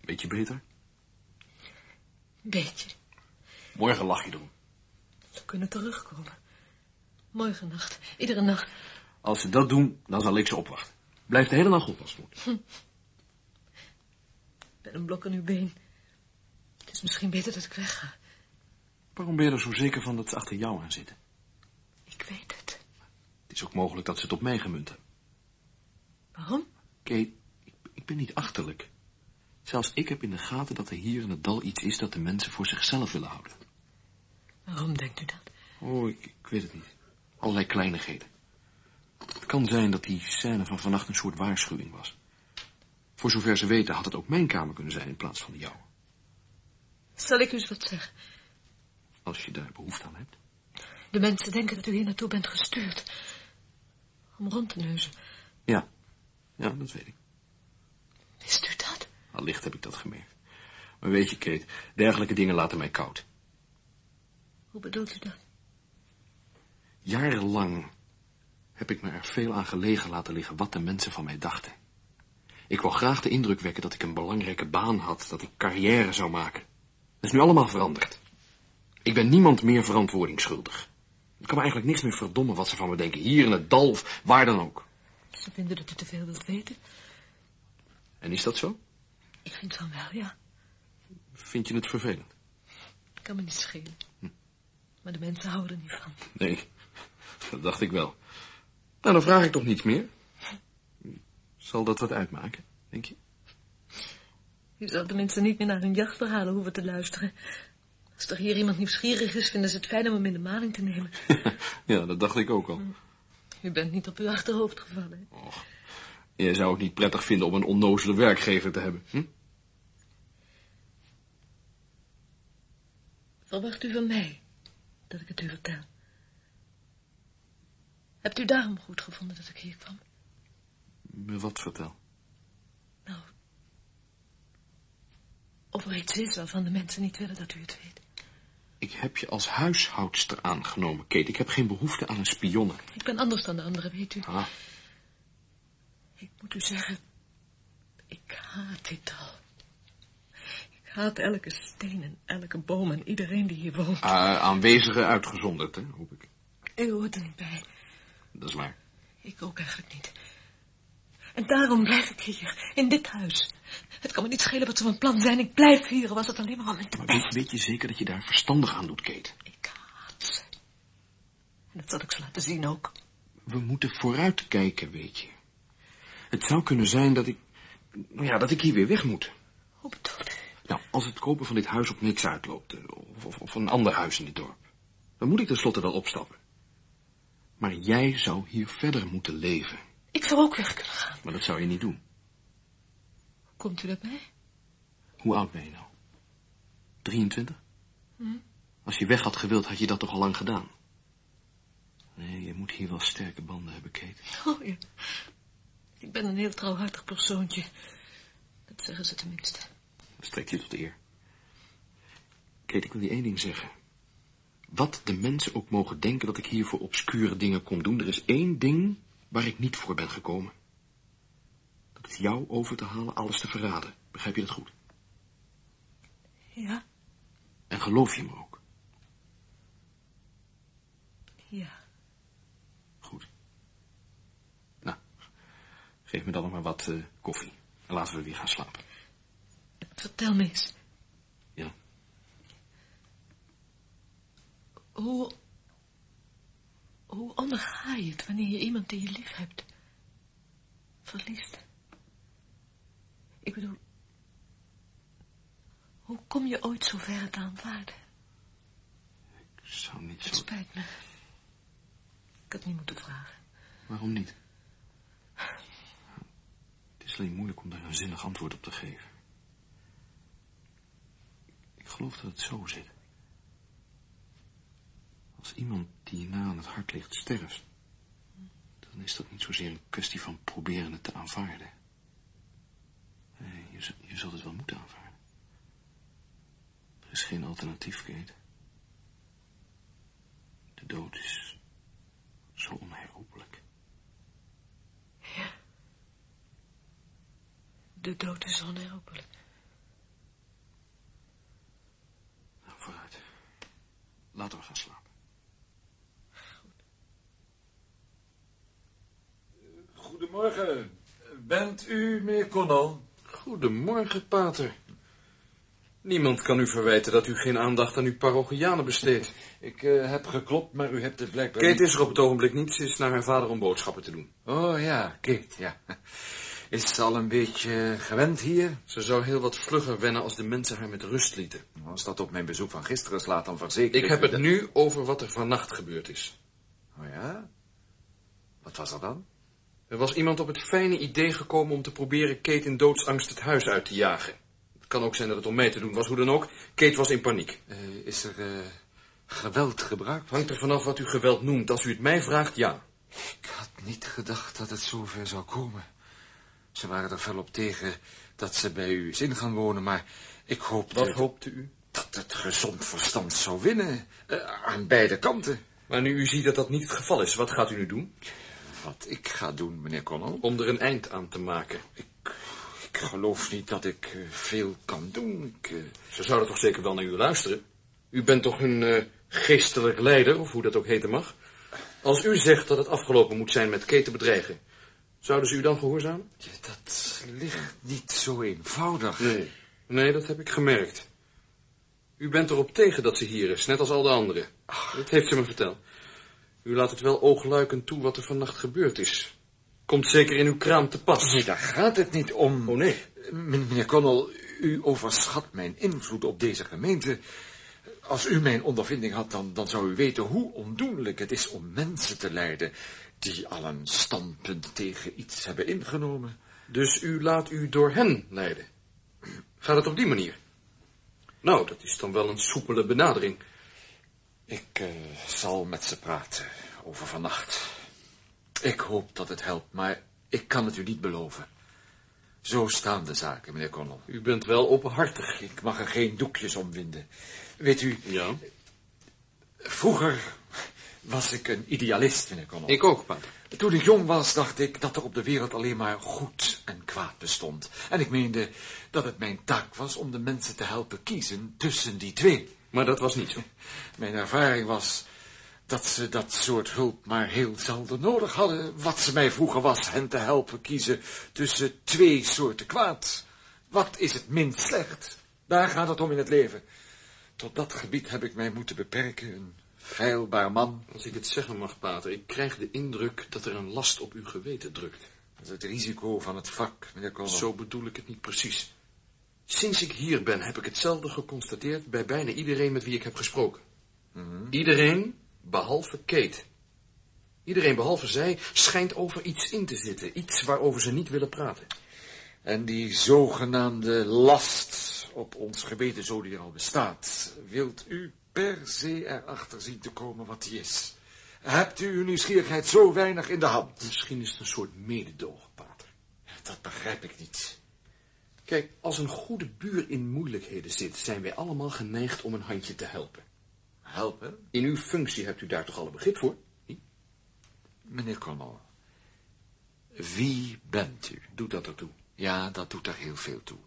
Weet je beter? Beetje. Morgen lach je doen. We kunnen terugkomen. Morgen nacht. Iedere nacht. Als ze dat doen, dan zal ik ze opwachten. Blijf de hele nacht op als het moet. Hm. Ik ben een blok in uw been. Het is misschien beter dat ik wegga. Waarom ben je er zo zeker van dat ze achter jou aan zitten? Ik weet het. Het is ook mogelijk dat ze het op mij gemunt hebben. Waarom? Kate, ik, ik ben niet achterlijk. Zelfs ik heb in de gaten dat er hier in het dal iets is dat de mensen voor zichzelf willen houden. Waarom denkt u dat? Oh, ik, ik weet het niet. Allerlei kleinigheden. Het kan zijn dat die scène van vannacht een soort waarschuwing was. Voor zover ze weten had het ook mijn kamer kunnen zijn in plaats van de jouwe. Zal ik u eens wat zeggen? Als je daar behoefte aan hebt. De mensen denken dat u hier naartoe bent gestuurd. Om rond te neuzen. Ja, ja, dat weet ik. Wist u dat? Allicht heb ik dat gemerkt. Maar weet je, Kate, dergelijke dingen laten mij koud. Hoe bedoelt u dat? Jarenlang heb ik me er veel aan gelegen laten liggen wat de mensen van mij dachten. Ik wou graag de indruk wekken dat ik een belangrijke baan had, dat ik carrière zou maken. Dat is nu allemaal veranderd. Ik ben niemand meer verantwoording schuldig. Ik kan me eigenlijk niks meer verdommen wat ze van me denken, hier in het dal of waar dan ook. Ze vinden dat u te veel wilt weten. En is dat zo? Ik vind van wel, ja. Vind je het vervelend? Hm. Kan me niet schelen. Maar de mensen houden er niet van. Nee, dat dacht ik wel. Nou, dan vraag ik toch niets meer. Zal dat wat uitmaken, denk je? U zal tenminste niet meer naar hun jachtverhalen hoeven te luisteren. Als er hier iemand nieuwsgierig is, vinden ze het fijn om hem in de maling te nemen. ja, dat dacht ik ook al. U bent niet op uw achterhoofd gevallen. hè? Je zou het niet prettig vinden om een onnozele werkgever te hebben. Hm? Verwacht u van mij dat ik het u vertel? Hebt u daarom goed gevonden dat ik hier kwam? Me Wat vertel? Nou, of er iets is waarvan de mensen niet willen dat u het weet. Ik heb je als huishoudster aangenomen, Kate. Ik heb geen behoefte aan een spionne. Ik ben anders dan de anderen, weet u. Ah, Ik moet u zeggen, ik haat dit al. Ik haat elke steen en elke boom en iedereen die hier woont. eh, aanwezigen uitgezonderd, hè, hoop ik. U hoort er niet bij. Dat is waar. Ik ook eigenlijk niet. En daarom blijf ik hier, in dit huis. Het kan me niet schelen wat ze van plan zijn. Ik blijf hier, was het alleen maar om in te Maar weet, weet je zeker dat je daar verstandig aan doet, Kate? Ik haat ze. En dat zal ik ze laten zien ook. We moeten vooruitkijken, weet je. Het zou kunnen zijn dat ik... Nou ja, dat ik hier weer weg moet. Hoe bedoelt u? Nou, als het kopen van dit huis op niks uitloopt, eh, of, of, of een ander huis in dit dorp, dan moet ik tenslotte wel opstappen. Maar jij zou hier verder moeten leven, Ik zou ook weg kunnen gaan. maar dat zou je niet doen. Komt u dat mee? Hoe oud ben je nou? 23? Als je weg had gewild, had je dat toch al lang gedaan? Nee, je moet hier wel sterke banden hebben, Kate. Oh ja. Ik ben een heel trouwhartig persoontje. zeggen ze tenminste. Strekt je tot eer. Kate, ik wil je één ding zeggen. Wat de mensen ook mogen denken dat ik hier voor obscure dingen kom doen, er is één ding waar ik niet voor ben gekomen. Dat is jou over te halen alles te verraden. Begrijp je dat goed? Ja, En geloof je me ook? ja. Goed. Nou, geef me dan nog maar wat eh, koffie. En laten we weer gaan slapen. Vertel me eens, Ja. hoe... Hoe onderga je het wanneer je iemand die je lief hebt verliest? Ik bedoel, hoe kom je ooit zo ver het aanvaarden? Ik zou niet Het zo... spijt me. Ik had niet moeten vragen. Waarom niet? Het is alleen moeilijk om daar een zinnig antwoord op te geven. Ik geloof dat het zo zit. Als iemand die je na aan het hart ligt sterft, dan is dat niet zozeer een kwestie van proberen het te aanvaarden. Nee, je, z- je zult het wel moeten aanvaarden. Er is geen alternatief, Kate. De dood is zo onherroepelijk. De dood is onherroepelijk. Nou, vooruit. Laten we gaan slapen. Goedemorgen. Bent u meneer Connell? Goedemorgen, pater. Niemand kan u verwijten dat u geen aandacht aan uw parochianen besteedt. Ik eh, heb geklopt, maar u hebt het blijkbaar Kate is er op het ogenblik niet, ze is naar haar vader om boodschappen te doen. Oh ja, Kate, ja. Is ze al een beetje gewend hier? Ze zou heel wat vlugger wennen als de mensen haar met rust lieten. Als dat op mijn bezoek van gisteren slaat, dan verzeker Ik heb u het dat- nu over wat er vannacht gebeurd is. Oh ja? Wat was er dan? Er was iemand op het fijne idee gekomen om te proberen Kate in doodsangst het huis uit te jagen. Het kan ook zijn dat het om mij te doen was, hoe dan ook. Kate was in paniek. Eh, is er eh, geweld gebruikt? Hangt er vanaf wat u geweld noemt. Als u het mij vraagt, ja. Ik had niet gedacht dat het zover zou komen. Ze waren er fel op tegen dat ze bij u is in gaan wonen, maar ik hoopte... Wat hoopte u? Dat het gezond verstand zou winnen. eh, aan beide kanten. Maar nu u ziet dat dat niet het geval is, wat gaat u nu doen? Wat ik ga doen, meneer Connell. Om er een eind aan te maken. Ik geloof niet dat ik eh, veel kan doen. Ik, eh, Ze zouden toch zeker wel naar u luisteren? U bent toch hun eh, geestelijk leider, of hoe dat ook heten mag? Als u zegt dat het afgelopen moet zijn met Kate te bedreigen, zouden ze u dan gehoorzamen? dat ligt niet zo eenvoudig. Nee. Nee, dat heb ik gemerkt. U bent erop tegen dat ze hier is, net als al de anderen. Dat heeft ze me verteld. U laat het wel oogluikend toe wat er vannacht gebeurd is. Komt zeker in uw kraam te pas. Nee, daar gaat het niet om. Oh, nee. Eh, Meneer Connell, u overschat mijn invloed op deze gemeente. Als u mijn ondervinding had, dan, dan zou u weten hoe ondoenlijk het is om mensen te leiden die al een standpunt tegen iets hebben ingenomen. Dus u laat u door hen leiden. Gaat het op die manier? Nou, dat is dan wel een soepele benadering. Ik eh, zal met ze praten over vannacht. Ik hoop dat het helpt, maar ik kan het u niet beloven. Zo staan de zaken, meneer Connell. U bent wel openhartig. Ik mag er geen doekjes om winden. Weet u, Ja? Vroeger was ik een idealist, meneer Connell. Ik ook, pater. Toen ik jong was, dacht ik dat er op de wereld alleen maar goed en kwaad bestond. En ik meende dat het mijn taak was om de mensen te helpen kiezen tussen die twee. Maar dat was niet zo. Mijn ervaring was dat ze dat soort hulp maar heel zelden nodig hadden. Wat ze mij vroegen was hen te helpen kiezen tussen twee soorten kwaad. Wat is het minst slecht? Daar gaat het om in het leven. Tot dat gebied heb ik mij moeten beperken, een feilbaar man. Als ik het zeggen mag, pater, ik krijg de indruk dat er een last op uw geweten drukt. Dat is het risico van het vak, meneer Connell. Zo bedoel ik het niet precies. Sinds ik hier ben heb ik hetzelfde geconstateerd bij bijna iedereen met wie ik heb gesproken. Iedereen behalve Kate. Iedereen behalve zij schijnt over iets in te zitten. Iets waarover ze niet willen praten. En die zogenaamde last op ons geweten, zo die er al bestaat, wilt u per se erachter zien te komen wat die is? Hebt u uw nieuwsgierigheid zo weinig in de hand? Misschien is het een soort mededogen, pater. Dat begrijp ik niet. Kijk, als een goede buur in moeilijkheden zit, zijn wij allemaal geneigd om een handje te helpen. Helpen? In uw functie hebt u daar toch alle begrip voor? Meneer Connell, wie bent u? Doet dat ertoe. Ja, dat doet er heel veel toe.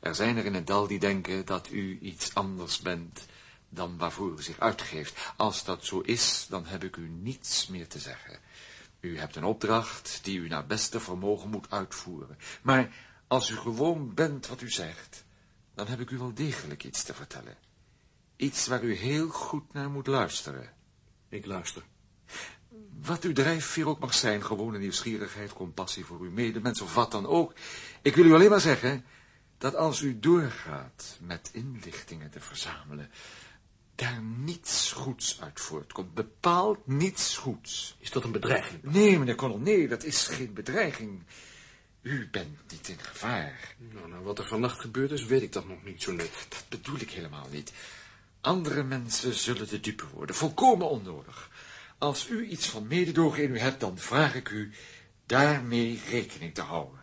Er zijn er in het dal die denken dat u iets anders bent dan waarvoor u zich uitgeeft. Als dat zo is, dan heb ik u niets meer te zeggen. U hebt een opdracht die u naar beste vermogen moet uitvoeren. Maar als u gewoon bent wat u zegt, dan heb ik u wel degelijk iets te vertellen. Iets waar u heel goed naar moet luisteren. Ik luister. Wat uw drijfveer ook mag zijn, gewone nieuwsgierigheid, compassie voor uw medemens of wat dan ook. Ik wil u alleen maar zeggen dat als u doorgaat met inlichtingen te verzamelen, daar niets goeds uit voortkomt. Bepaald niets goeds. Is dat een bedreiging? Nee, meneer Connell, nee, dat is geen bedreiging. U bent niet in gevaar. Nou, nou, wat er vannacht gebeurd is, weet ik dat nog niet zo net. Dat bedoel ik helemaal niet. Andere mensen zullen de dupe worden, volkomen onnodig. Als u iets van mededogen in u hebt, dan vraag ik u daarmee rekening te houden.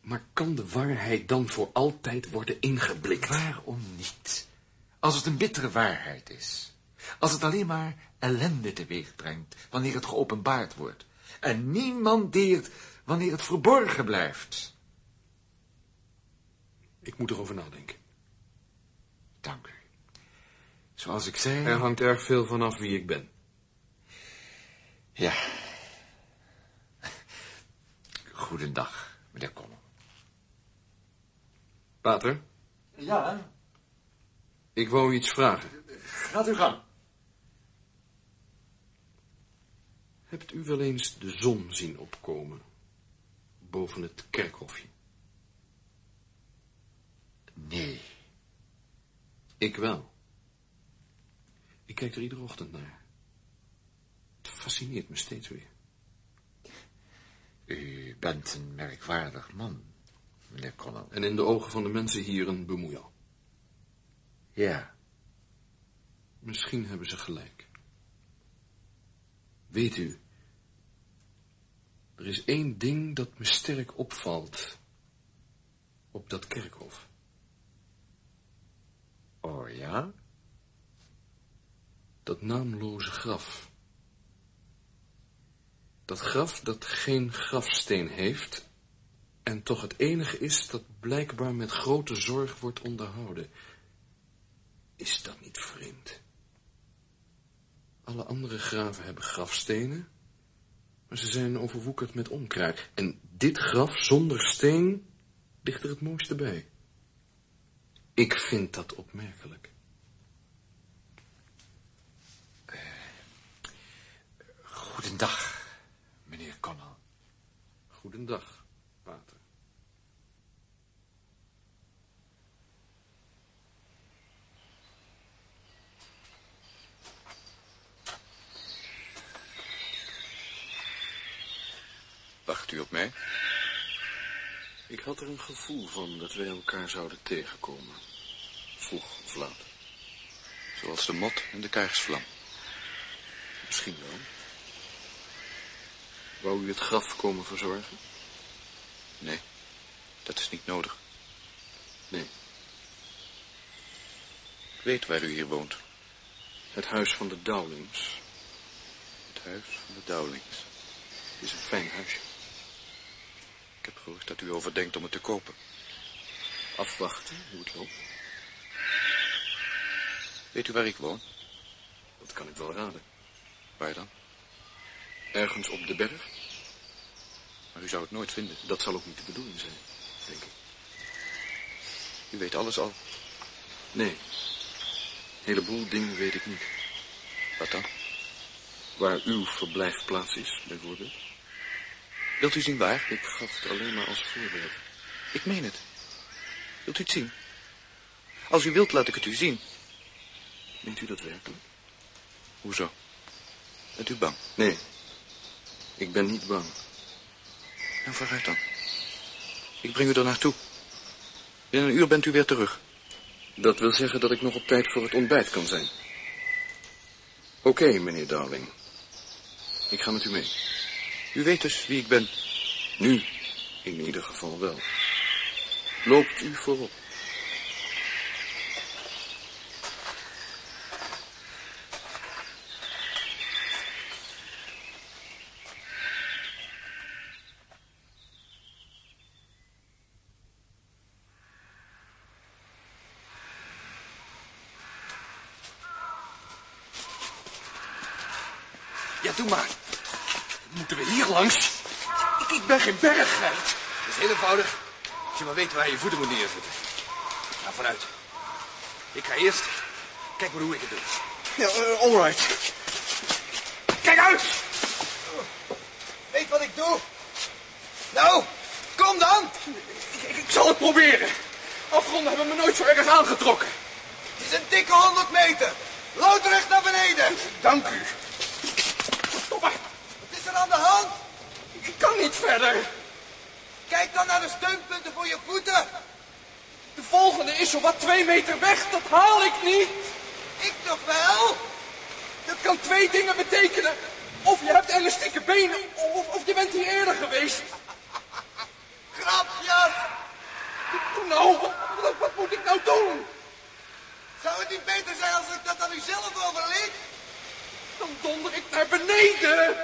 Maar kan de waarheid dan voor altijd worden ingeblikt? Waarom niet? Als het een bittere waarheid is. Als het alleen maar ellende teweeg brengt wanneer het geopenbaard wordt. En niemand deert wanneer het verborgen blijft. Ik moet erover nadenken. Dank u. Zoals ik zei... Er hangt erg veel van af wie ik ben. Ja. Goedendag, meneer Connell. Pater, Ja, ik wou u iets vragen. gaat u gang. Hebt u wel eens de zon zien opkomen boven het kerkhofje? Nee. Ik wel. Ik kijk er iedere ochtend naar. Het fascineert me steeds weer. U bent een merkwaardig man, meneer Connell. En in de ogen van de mensen hier een bemoeial. Ja, Misschien hebben ze gelijk. Weet u, er is één ding dat me sterk opvalt op dat kerkhof. oh ja? Dat naamloze graf. Dat graf dat geen grafsteen heeft en toch het enige is dat blijkbaar met grote zorg wordt onderhouden. Is dat niet vreemd? Alle andere graven hebben grafstenen, maar ze zijn overwoekerd met onkruid. En dit graf zonder steen ligt er het mooiste bij. Ik vind dat opmerkelijk. Goedendag, meneer Connell. Goedendag, pater. Wacht u op mij? Ik had er een gevoel van dat wij elkaar zouden tegenkomen. Vroeg of laat. Zoals de mot en de kaarsvlam. Misschien wel. Wou u het graf komen verzorgen? Nee, dat is niet nodig. Nee. Ik weet waar u hier woont. Het huis van de Dowlings Het huis van de Dowlings. is een fijn huisje. Ik heb gehoord dat u overdenkt om het te kopen. Afwachten hoe het loopt, Weet u waar ik woon? dat kan ik wel raden. Waar dan? Ergens op de berg, Maar u zou het nooit vinden. dat zal ook niet de bedoeling zijn, denk ik. U weet alles al. Nee. Een heleboel dingen weet ik niet. Wat dan? Waar uw verblijfplaats is, bijvoorbeeld. Wilt u zien waar? Ik gaf het alleen maar als voorbeeld. Ik meen het. Wilt u het zien? Als u wilt, laat ik het u zien. Meent u dat werkelijk? Hoezo? Bent u bang? Nee. Ik ben niet bang. Nou, vooruit dan. Ik breng u er naartoe. Binnen een uur bent u weer terug. Dat wil zeggen dat ik nog op tijd voor het ontbijt kan zijn. Oké, meneer Darling. Ik ga met u mee. U weet dus wie ik ben. Nu, in ieder geval wel. Loopt u voorop. Ja, doe maar. Moeten we hier langs? Ik, ik ben geen berggeit. Dat is heel eenvoudig. Als je maar weet waar je voeten moet neerzetten. Nou, vooruit. Ik ga eerst. Kijk maar hoe ik het doe. Ja, eh, alright. Kijk uit! Weet wat ik doe? Nou, kom dan! Ik, ik- ik zal het proberen. Afgronden hebben me nooit zo ergens aangetrokken. Het is een dikke 100 meter. Loodrecht naar beneden. Dank u. Stop maar. Wat is er aan de hand? Ik kan niet verder. Kijk dan naar de steunpunten voor je voeten. De volgende is zowat twee meter weg. Dat haal ik niet. Ik toch wel? Dat kan twee dingen betekenen. Of je hebt elastieke benen, of, of je bent hier eerder geweest. Grapjas. Nou, wat, wat- wat moet ik nou doen? Zou het niet beter zijn als ik dat aan u zelf overliet? Dan donder ik naar beneden.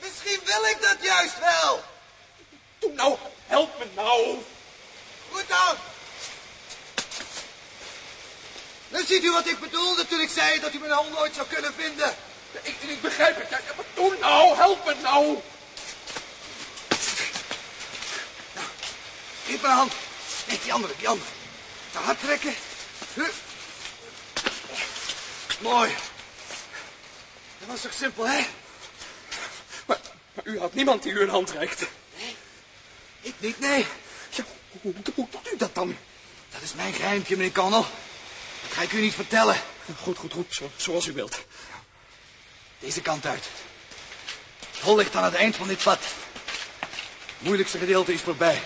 Misschien wil ik dat juist wel. Doe nou, help me nou. Goed dan. Dan ziet u wat ik bedoelde toen ik zei dat u mijn hand nooit zou kunnen vinden. Ik, ik begrijp het. Ja, ja, maar doe nou, help me nou. Geef mijn hand. Nee, die andere, die andere. Te hard trekken. Hup. Mooi. Dat was toch simpel, hè? Maar, maar u had niemand die u een hand reikte. Ik niet, nee. Ja, hoe, hoe- hoe doet u dat dan? Dat is mijn geheimpje, meneer Connell. Dat ga ik u niet vertellen. Goed, goed, goed. Zo, zoals u wilt. Deze kant uit. Het hol ligt aan het eind van dit pad. Het moeilijkste gedeelte is voorbij.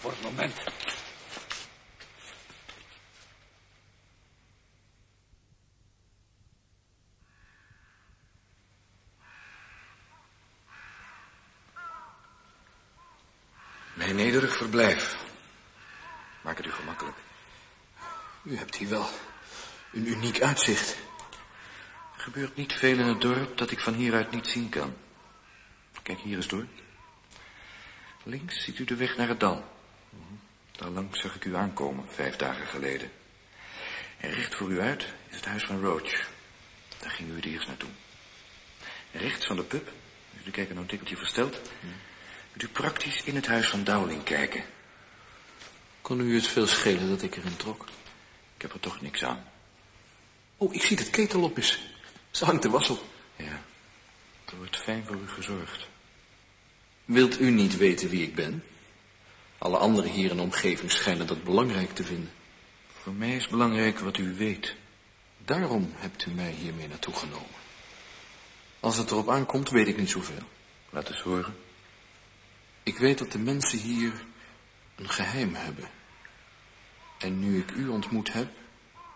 Voor het moment. Mijn nederig verblijf. Maak het u gemakkelijk. U hebt hier wel een uniek uitzicht. Er gebeurt niet veel in het dorp dat ik van hieruit niet zien kan. Kijk hier eens door. Links ziet u de weg naar het dal. Mhm. Daar langs zag ik u aankomen, vijf dagen geleden. En recht voor u uit is het huis van Roach. Daar gingen u het eerst naartoe. En rechts van de pub, jullie kijken nou een tikkeltje versteld... Mhm. moet u praktisch in het huis van Dowling kijken. Kon u het veel schelen dat ik erin trok? Ik heb er toch niks aan. Oh, ik zie dat ketel op is. Ze hangt de was op. Ja, er wordt fijn voor u gezorgd. Wilt u niet weten wie ik ben? Alle anderen hier in de omgeving schijnen dat belangrijk te vinden. Voor mij is belangrijk wat u weet. Daarom hebt u mij hiermee naartoe genomen. Als het erop aankomt, weet ik niet zoveel. Laat eens horen. Ik weet dat de mensen hier een geheim hebben. En nu ik u ontmoet heb,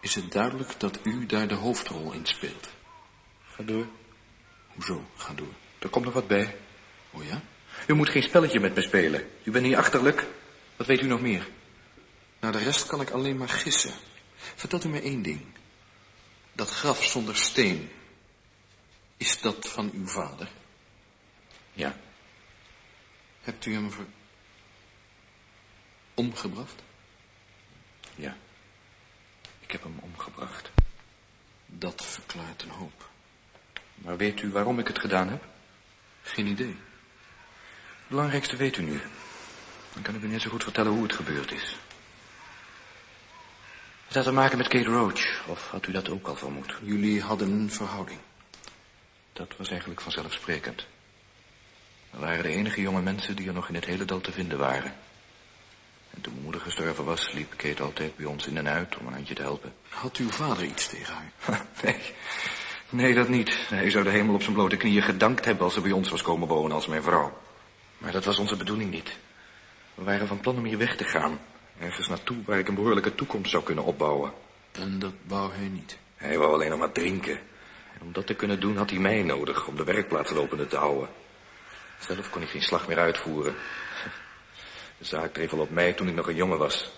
is het duidelijk dat u daar de hoofdrol in speelt. Ga door. Hoezo? Ga door. Er komt nog wat bij. O Oh ja? U moet geen spelletje met me spelen. U bent niet achterlijk. Wat weet u nog meer? Naar Nou, de rest kan ik alleen maar gissen. Vertelt u mij één ding. Dat graf zonder steen, is dat van uw vader? Ja. Hebt u hem ver... omgebracht? Ja. Ik heb hem omgebracht. Dat verklaart een hoop. Maar weet u waarom ik het gedaan heb? Geen idee. Het belangrijkste weet u nu. Dan kan ik u net zo goed vertellen hoe het gebeurd is. Het had te maken met Kate Roach. Of had u dat ook al vermoed? Jullie hadden een verhouding. Dat was eigenlijk vanzelfsprekend. We waren de enige jonge mensen die er nog in het hele dal te vinden waren. En toen mijn moeder gestorven was, liep Kate altijd bij ons in en uit om een handje te helpen. Had uw vader iets tegen haar? nee, nee, dat niet. Hij zou de hemel op zijn blote knieën gedankt hebben als ze bij ons was komen wonen als mijn vrouw. Maar dat was onze bedoeling niet. We waren van plan om hier weg te gaan. Ergens naartoe waar ik een behoorlijke toekomst zou kunnen opbouwen. En dat wou hij niet. Hij wou alleen nog maar drinken. En om dat te kunnen doen had hij mij nodig om de werkplaats lopende te houden. Zelf kon ik geen slag meer uitvoeren. De zaak dreef al op mij toen ik nog een jongen was.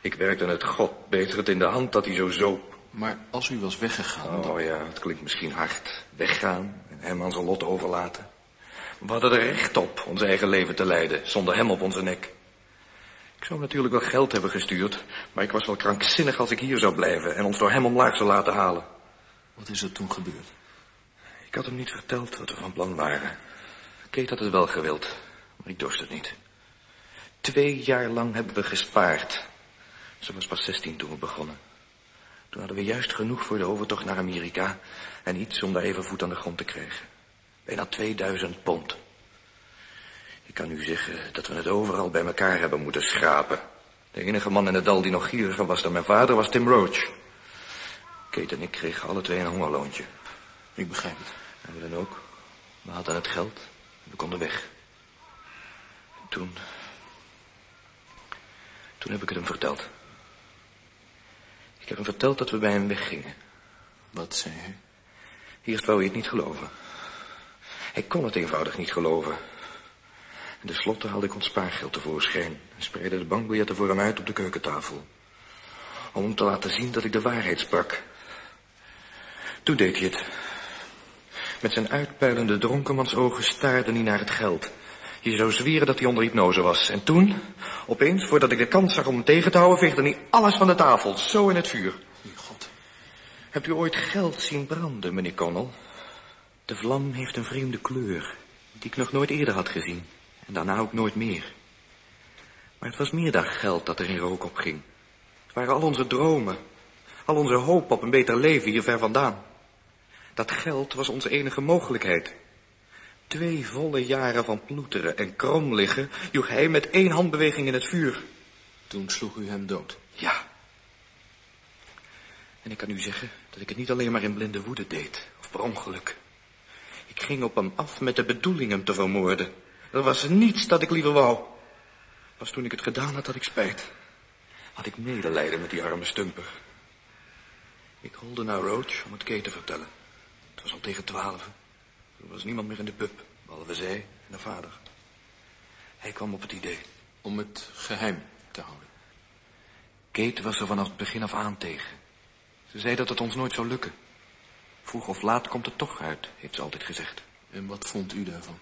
Ik werkte aan het god, beter het in de hand dat hij zo zo... Maar als u was weggegaan, dan... Oh ja, het klinkt misschien hard. Weggaan en hem aan zijn lot overlaten. We hadden er recht op ons eigen leven te leiden, zonder hem op onze nek. Ik zou natuurlijk wel geld hebben gestuurd, maar ik was wel krankzinnig als ik hier zou blijven en ons door hem omlaag zou laten halen. Wat is er toen gebeurd? Ik had hem niet verteld wat we van plan waren. Kate had het wel gewild, maar ik dorst het niet. Twee jaar lang hebben we gespaard. Ze was pas zestien toen we begonnen. Toen hadden we juist genoeg voor de overtocht naar Amerika en iets om daar even voet aan de grond te krijgen. Bijna 2000 pond. Ik kan u zeggen dat we het overal bij elkaar hebben moeten schrapen. De enige man in het dal die nog gieriger was dan mijn vader was Tim Roach. Kate en ik kregen alle twee een hongerloontje. Ik begrijp het. En we dan ook. We hadden het geld. We konden weg. Toen... Toen heb ik het hem verteld. Ik heb hem verteld dat we bij hem weggingen. Wat zei u? Eerst wou hij het niet geloven. Hij kon het eenvoudig niet geloven. En tenslotte haalde ik ons spaargeld tevoorschijn... en spreidde de bankbiljetten voor hem uit op de keukentafel. Om hem te laten zien dat ik de waarheid sprak. Toen deed hij het. Met zijn uitpuilende dronkenmansogen staarde hij naar het geld. Je zou zweren dat hij onder hypnose was. En toen, opeens, voordat ik de kans zag om hem tegen te houden, veegde hij alles van de tafel, zo in het vuur. Mijn god. Hebt u ooit geld zien branden, meneer Connell? De vlam heeft een vreemde kleur, die ik nog nooit eerder had gezien. En daarna ook nooit meer. Maar het was meer dan geld dat er in rook opging. Het waren al onze dromen, al onze hoop op een beter leven hier ver vandaan. Dat geld was onze enige mogelijkheid. Twee volle jaren van ploeteren en krom liggen joeg hij met één handbeweging in het vuur. Toen sloeg u hem dood. Ja. En ik kan u zeggen dat ik het niet alleen maar in blinde woede deed, of per ongeluk. Ik ging op hem af met de bedoeling hem te vermoorden. Er was niets dat ik liever wou. Pas toen ik het gedaan had, had ik spijt. Had ik medelijden met die arme stumper. Ik holde naar Roach om het Kate te vertellen. Het was al tegen twaalf. Er was niemand meer in de pub, behalve zij en haar vader. Hij kwam op het idee. Om het geheim te houden. Kate was er vanaf het begin af aan tegen. Ze zei dat het ons nooit zou lukken. Vroeg of laat komt het toch uit, heeft ze altijd gezegd. En wat vond u daarvan?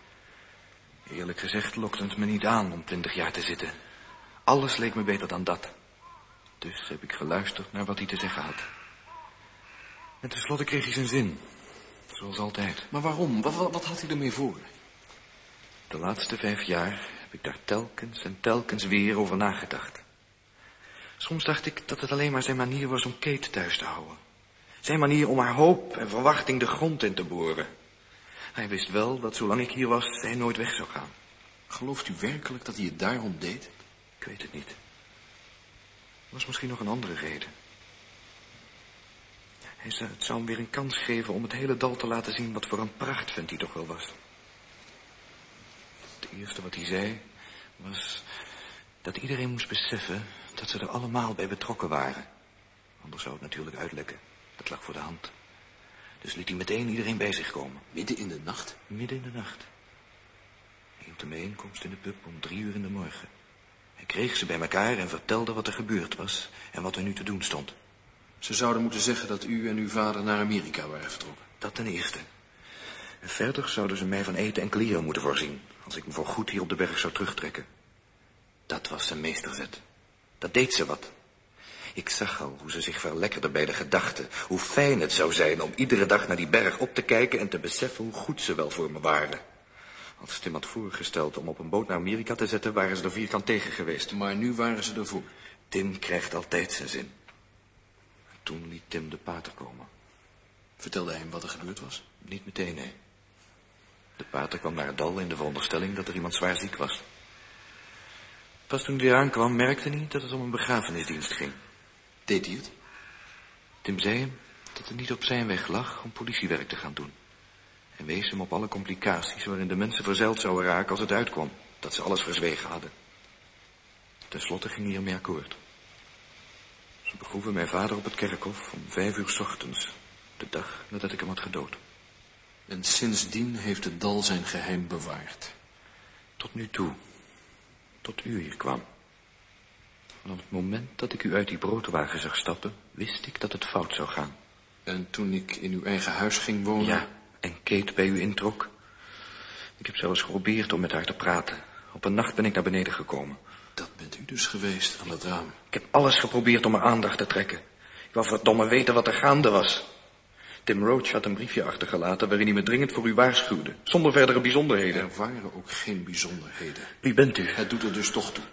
Eerlijk gezegd lokte het me niet aan om twintig jaar te zitten. Alles leek me beter dan dat. Dus heb ik geluisterd naar wat hij te zeggen had. En tenslotte kreeg hij zijn zin. Zoals altijd. Maar waarom? Wat, wat, wat had u ermee voor? De laatste vijf jaar heb ik daar telkens en telkens weer over nagedacht. Soms dacht ik dat het alleen maar zijn manier was om Kate thuis te houden. Zijn manier om haar hoop en verwachting de grond in te boren. Hij wist wel dat zolang ik hier was, zij nooit weg zou gaan. Gelooft u werkelijk dat hij het daarom deed? Ik weet het niet. Er was misschien nog een andere reden. Hij zou, het zou hem weer een kans geven om het hele dal te laten zien wat voor een prachtvent hij toch wel was. Het eerste wat hij zei was dat iedereen moest beseffen dat ze er allemaal bij betrokken waren. Anders zou het natuurlijk uitlekken. Dat lag voor de hand. Dus liet hij meteen iedereen bij zich komen. Midden in de nacht? Midden in de nacht. Hij hield een bijeenkomst in de pub om drie uur in de morgen. Hij kreeg ze bij elkaar en vertelde wat er gebeurd was en wat er nu te doen stond. Ze zouden moeten zeggen dat u en uw vader naar Amerika waren vertrokken. Dat ten eerste. En verder zouden ze mij van eten en kleren moeten voorzien... als ik me voor goed hier op de berg zou terugtrekken. Dat was zijn meesterzet. Dat deed ze wat. Ik zag al hoe ze zich verlekkerde bij de gedachte... hoe fijn het zou zijn om iedere dag naar die berg op te kijken... en te beseffen hoe goed ze wel voor me waren. Als Tim had voorgesteld om op een boot naar Amerika te zetten... waren ze er vierkant tegen geweest. Maar nu waren ze ervoor. Tim krijgt altijd zijn zin. Toen liet Tim de pater komen. Vertelde hij hem wat er gebeurd was? Niet meteen, nee. De pater kwam naar het dal in de veronderstelling dat er iemand zwaar ziek was. Pas toen hij aankwam merkte hij dat het om een begrafenisdienst ging. Deed hij het? Tim zei hem dat het niet op zijn weg lag om politiewerk te gaan doen. En wees hem op alle complicaties waarin de mensen verzeild zouden raken als het uitkwam. Dat ze alles verzwegen hadden. Ten slotte ging hij ermee akkoord. Ze begroeven mijn vader op het kerkhof om vijf uur 's ochtends. De dag nadat ik hem had gedood. En sindsdien heeft het dal zijn geheim bewaard. Tot nu toe. tot u hier kwam. Vanaf het moment dat ik u uit die broodwagen zag stappen, wist ik dat het fout zou gaan. En toen ik in uw eigen huis ging wonen... Ja, en Kate bij u introk. Ik heb zelfs geprobeerd om met haar te praten. Op een nacht ben ik naar beneden gekomen. Dat bent u dus geweest aan dat raam. Ik heb alles geprobeerd om haar aandacht te trekken. Ik wou verdomme weten wat er gaande was. Tim Roach had een briefje achtergelaten waarin hij me dringend voor u waarschuwde. Zonder verdere bijzonderheden. Er waren ook geen bijzonderheden. Wie bent u? Het doet er dus toch toe.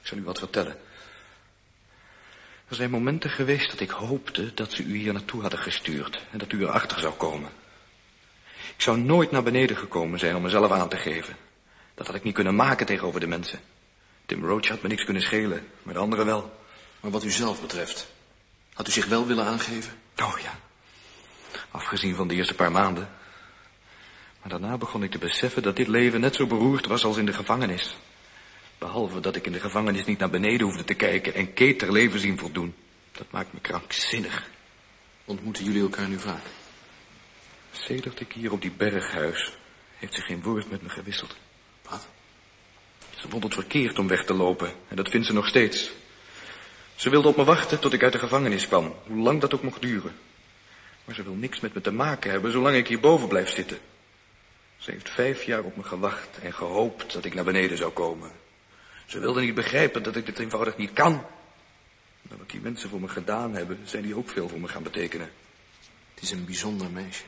Ik zal u wat vertellen. Er zijn momenten geweest dat ik hoopte dat ze u hier naartoe hadden gestuurd en dat u erachter zou komen. Ik zou nooit naar beneden gekomen zijn om mezelf aan te geven. Dat had ik niet kunnen maken tegenover de mensen. Tim Roach had me niks kunnen schelen, maar de anderen wel. Maar wat u zelf betreft, had u zich wel willen aangeven? Oh ja, afgezien van de eerste paar maanden. Maar daarna begon ik te beseffen dat dit leven net zo beroerd was als in de gevangenis. Behalve dat ik in de gevangenis niet naar beneden hoefde te kijken en Kate ter leven zien voldoen. Dat maakt me krankzinnig. Ontmoeten jullie elkaar nu vaak? Sedert ik hier op die berghuis heeft ze geen woord met me gewisseld. Wat? Ze vond het verkeerd om weg te lopen en dat vindt ze nog steeds. Ze wilde op me wachten tot ik uit de gevangenis kwam, hoe lang dat ook mocht duren. Maar ze wil niks met me te maken hebben zolang ik hierboven blijf zitten. Ze heeft vijf jaar op me gewacht en gehoopt dat ik naar beneden zou komen. Ze wilde niet begrijpen dat ik dit eenvoudig niet kan. Maar wat die mensen voor me gedaan hebben, zijn die ook veel voor me gaan betekenen. Het is een bijzonder meisje.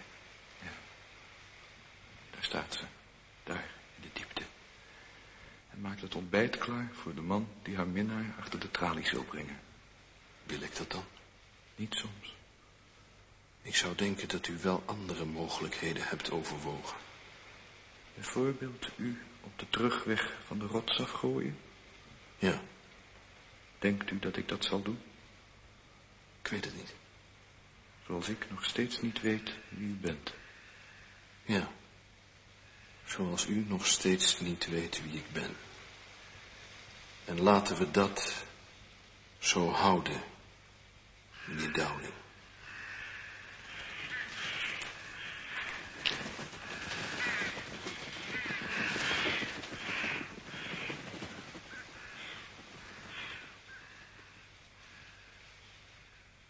Daar staat ze, daar in de diepte. En maakt het ontbijt klaar voor de man die haar minnaar achter de tralies wil brengen. Wil ik dat dan? Niet soms. Ik zou denken dat u wel andere mogelijkheden hebt overwogen. Bijvoorbeeld u op de terugweg van de rots afgooien. Ja, Denkt u dat ik dat zal doen? ik weet het niet. Zoals ik nog steeds niet weet wie u bent. Ja. Zoals u nog steeds niet weet wie ik ben. En laten we dat zo houden, meneer Dowling.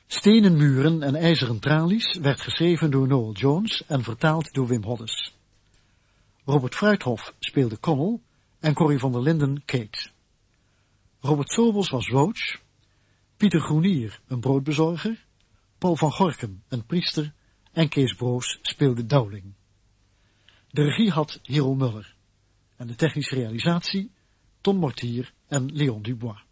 Stenen muren en ijzeren tralies werd geschreven door Noel Jones en vertaald door Wim Hoddes. Robert Fruithof speelde Connell en Corrie van der Linden Kate. Robert Sobels was Roach, Pieter Groenier een broodbezorger, Paul van Gorkum een priester en Kees Broos speelde Dowling. De regie had Hero Muller en de technische realisatie Ton Mortier en Leon Dubois.